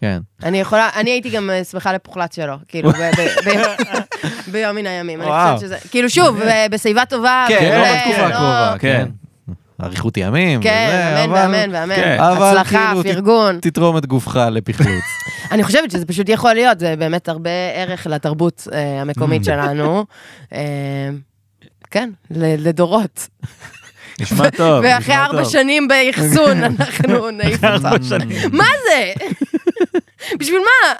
S2: כן.
S3: אני יכולה, אני הייתי גם אה, שמחה לפוחלץ שלו, כאילו, ב-
S2: (laughs)
S3: ב- ב- ביום מן הימים, אני
S2: וואו.
S3: חושבת שזה, כאילו שוב, ב- בשיבה טובה,
S2: כן,
S3: וכו',
S2: לא
S1: כן,
S2: בתקופה
S1: לא.
S2: הקרובה, כן.
S1: כן.
S2: אריכות ימים. וזה,
S3: כן, אמן
S2: אבל-
S3: ואמן ואמן,
S1: כן.
S2: אבל
S3: הצלחה,
S2: כאילו, ת-
S3: פרגון.
S2: תתרום את גופך לפחלוץ.
S3: אני חושבת שזה פשוט יכול להיות, זה באמת הרבה ערך לתרבות אה, המקומית שלנו. אה, כן, ל- לדורות.
S1: נשמע
S3: (laughs)
S1: טוב.
S3: ואחרי
S1: נשמע
S3: ארבע
S1: טוב.
S3: שנים באחסון, אנחנו נעיף אותו.
S1: ארבע שנים.
S3: מה זה? בשביל מה?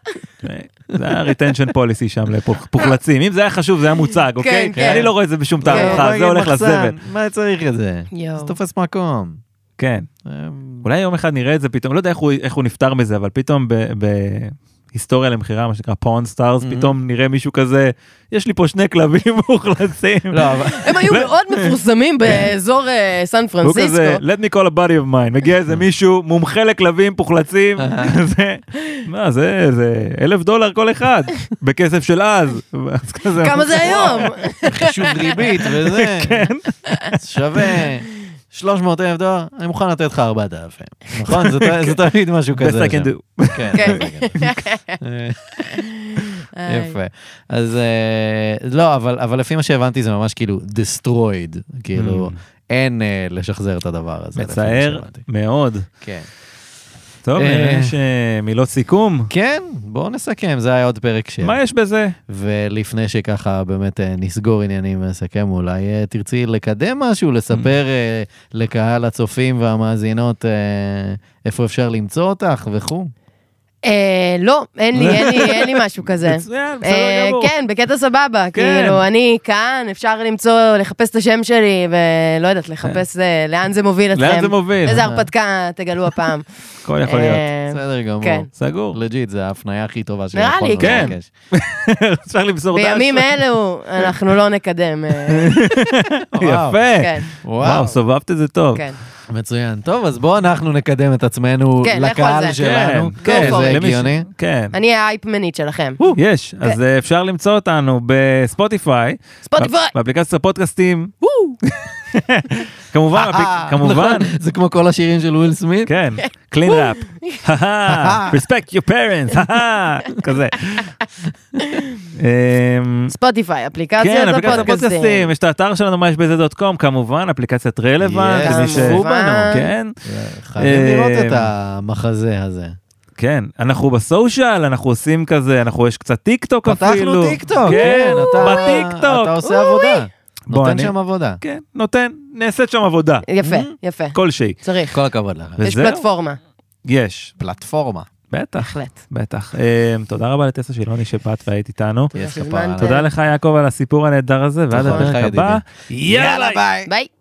S1: אה, זה היה retention policy שם לפוחלצים. אם זה היה חשוב, זה היה מוצג, אוקיי?
S3: כן.
S1: אני לא רואה את זה בשום
S2: בוא
S1: תערוכה,
S2: נגיד
S1: זה הולך
S2: מחסן,
S1: לזבל.
S2: מה צריך את זה?
S3: יואו.
S2: זה תופס מקום.
S1: כן.
S2: אה,
S1: אולי יום אחד נראה את זה פתאום, לא יודע איך הוא, איך הוא נפטר מזה, אבל פתאום ב- בהיסטוריה למכירה, מה שנקרא פאון סטארס,
S3: Mm-hmm.
S2: Mhm.
S1: פתאום נראה מישהו כזה, יש לי פה שני כלבים (laughs) מוחלצים.
S2: לא, אבל...
S3: הם היו מאוד מפורסמים באזור אה, סן
S1: הוא
S3: פרנסיסקו.
S1: כזה, let me call a body of mine, מגיע
S2: אה.
S1: איזה מישהו, מומחה לכלבים פוחלצים, (laughs) זה, מה זה, זה אלף דולר כל אחד, בכסף של אז. אז כזה,
S3: כמה זה היום?
S2: (laughs) חישוב ריבית וזה.
S1: (laughs) כן.
S2: שווה 300 אלף דולר, אני מוכן לתת לך 4,000.
S1: (laughs)
S2: נכון? זה ת- זה תמיד משהו
S1: Best
S2: כזה.
S1: I can
S2: שם.
S1: כן. do.
S2: כן.
S3: כן.
S2: אה,
S3: איי.
S2: יפה. אז אה, לא, אבל אבל לפי מה שהבנתי זה ממש כאילו destroyed. כאילו,
S1: Mm.
S2: אין אה, לשחזר את הדבר הזה. לפי מה
S1: מצער
S2: שהבנתי.
S1: מאוד.
S2: כן.
S1: טוב,
S2: אה.
S1: נראה יש אה, מילות סיכום.
S2: כן, בואו נסכם, זה היה עוד פרק של...
S1: מה יש בזה?
S2: ולפני שככה באמת אה, נסגור עניינים ונסכם, אולי אה, תרצי לקדם משהו, לספר
S1: Mm.
S2: אה, לקהל הצופים והמאזינות אה, איפה אפשר למצוא אותך וכו'.
S3: אה, לא, אין לי, אין לי, אין לי משהו
S1: (laughs)
S3: כזה.
S1: מצוין,
S3: אה,
S1: בסדר גמור.
S3: כן, בקטע סבבה, כאילו, אני כאן, אפשר למצוא, לחפש את השם שלי, ולא יודעת, לחפש אה, לאן זה מוביל אתכם.
S1: כן. לאן זה מוביל?
S3: איזה הרפתקה תגלו הפעם.
S1: הכל (laughs) יכול להיות.
S3: אה,
S2: בסדר גמור.
S3: כן.
S1: סגור.
S2: לג'יט, זו ההפניה הכי טובה
S3: נראה
S2: שיכולנו
S3: לי,
S1: כן.
S2: לבקש.
S1: (laughs) אפשר למסור דש.
S3: בימים אלו אנחנו לא
S1: (laughs)
S3: נקדם. אה,
S2: וואו.
S1: יפה.
S3: כן,
S1: וואו,
S2: וואו,
S1: סובבת את זה טוב.
S3: כן.
S2: מצוין. טוב, אז בואו אנחנו נקדם את עצמנו
S3: כן, לכו על
S2: לקהל
S3: זה.
S2: שלנו.
S1: כן, כן,
S2: זה
S1: למי ש-
S2: הגיוני.
S1: כן.
S3: אני האייפמנית שלכם.
S1: יש, אז אה, אפשר למצוא אותנו בספוטיפיי,
S3: ספוטיפיי!
S1: באפליקציית הפודקאסטים, (laughs) כמובן,
S3: אה.
S1: אפליק- אה, כמובן,
S2: נכון, (laughs) זה כמו כל השירים של וויל סמית.
S1: כן, clean rap, respect your parents, כזה. אמ,
S3: ספוטיפיי, אפליקציית
S1: כן, אפליקציית
S3: הפודקאסטים.
S1: הפודקאסטים, יש את האתר שלנו, מה יש בזה דוט קום, כמובן, אפליקציית רלוונט,
S2: Yes.
S1: למי ש...
S3: כמובן.
S1: כן,
S2: חייבים
S1: אה,
S2: לראות את המחזה הזה.
S1: כן, אנחנו בסושיאל, אנחנו עושים כזה, אנחנו יש קצת טיק טוק אפילו.
S2: פתחנו טיקטוק,
S1: כן,
S2: אתה,
S1: בטיקטוק.
S2: אתה עושה עבודה,
S1: בוא,
S2: נותן
S1: אני-
S2: שם עבודה.
S1: כן, נותן, נעשית שם עבודה, Mm-hmm.
S3: יפה, יפה.
S1: כלשהי.
S3: צריך.
S2: כל הכבוד לך.
S3: יש
S1: וזהו?
S3: פלטפורמה,
S1: יש,
S2: פלטפורמה.
S1: בטח,
S3: בהחלט.
S1: בטח. אמ, תודה רבה לטסה שילוני שבאת והיית איתנו.
S3: תודה
S2: יש כפרה
S3: שהזמנתם.
S2: עליך.
S1: תודה לך, יעקב, על הסיפור הנהדר הזה, ועד
S2: תודה לך,
S1: הפרק הבא.
S2: ידידי.
S1: יאללה, ביי.
S3: ביי.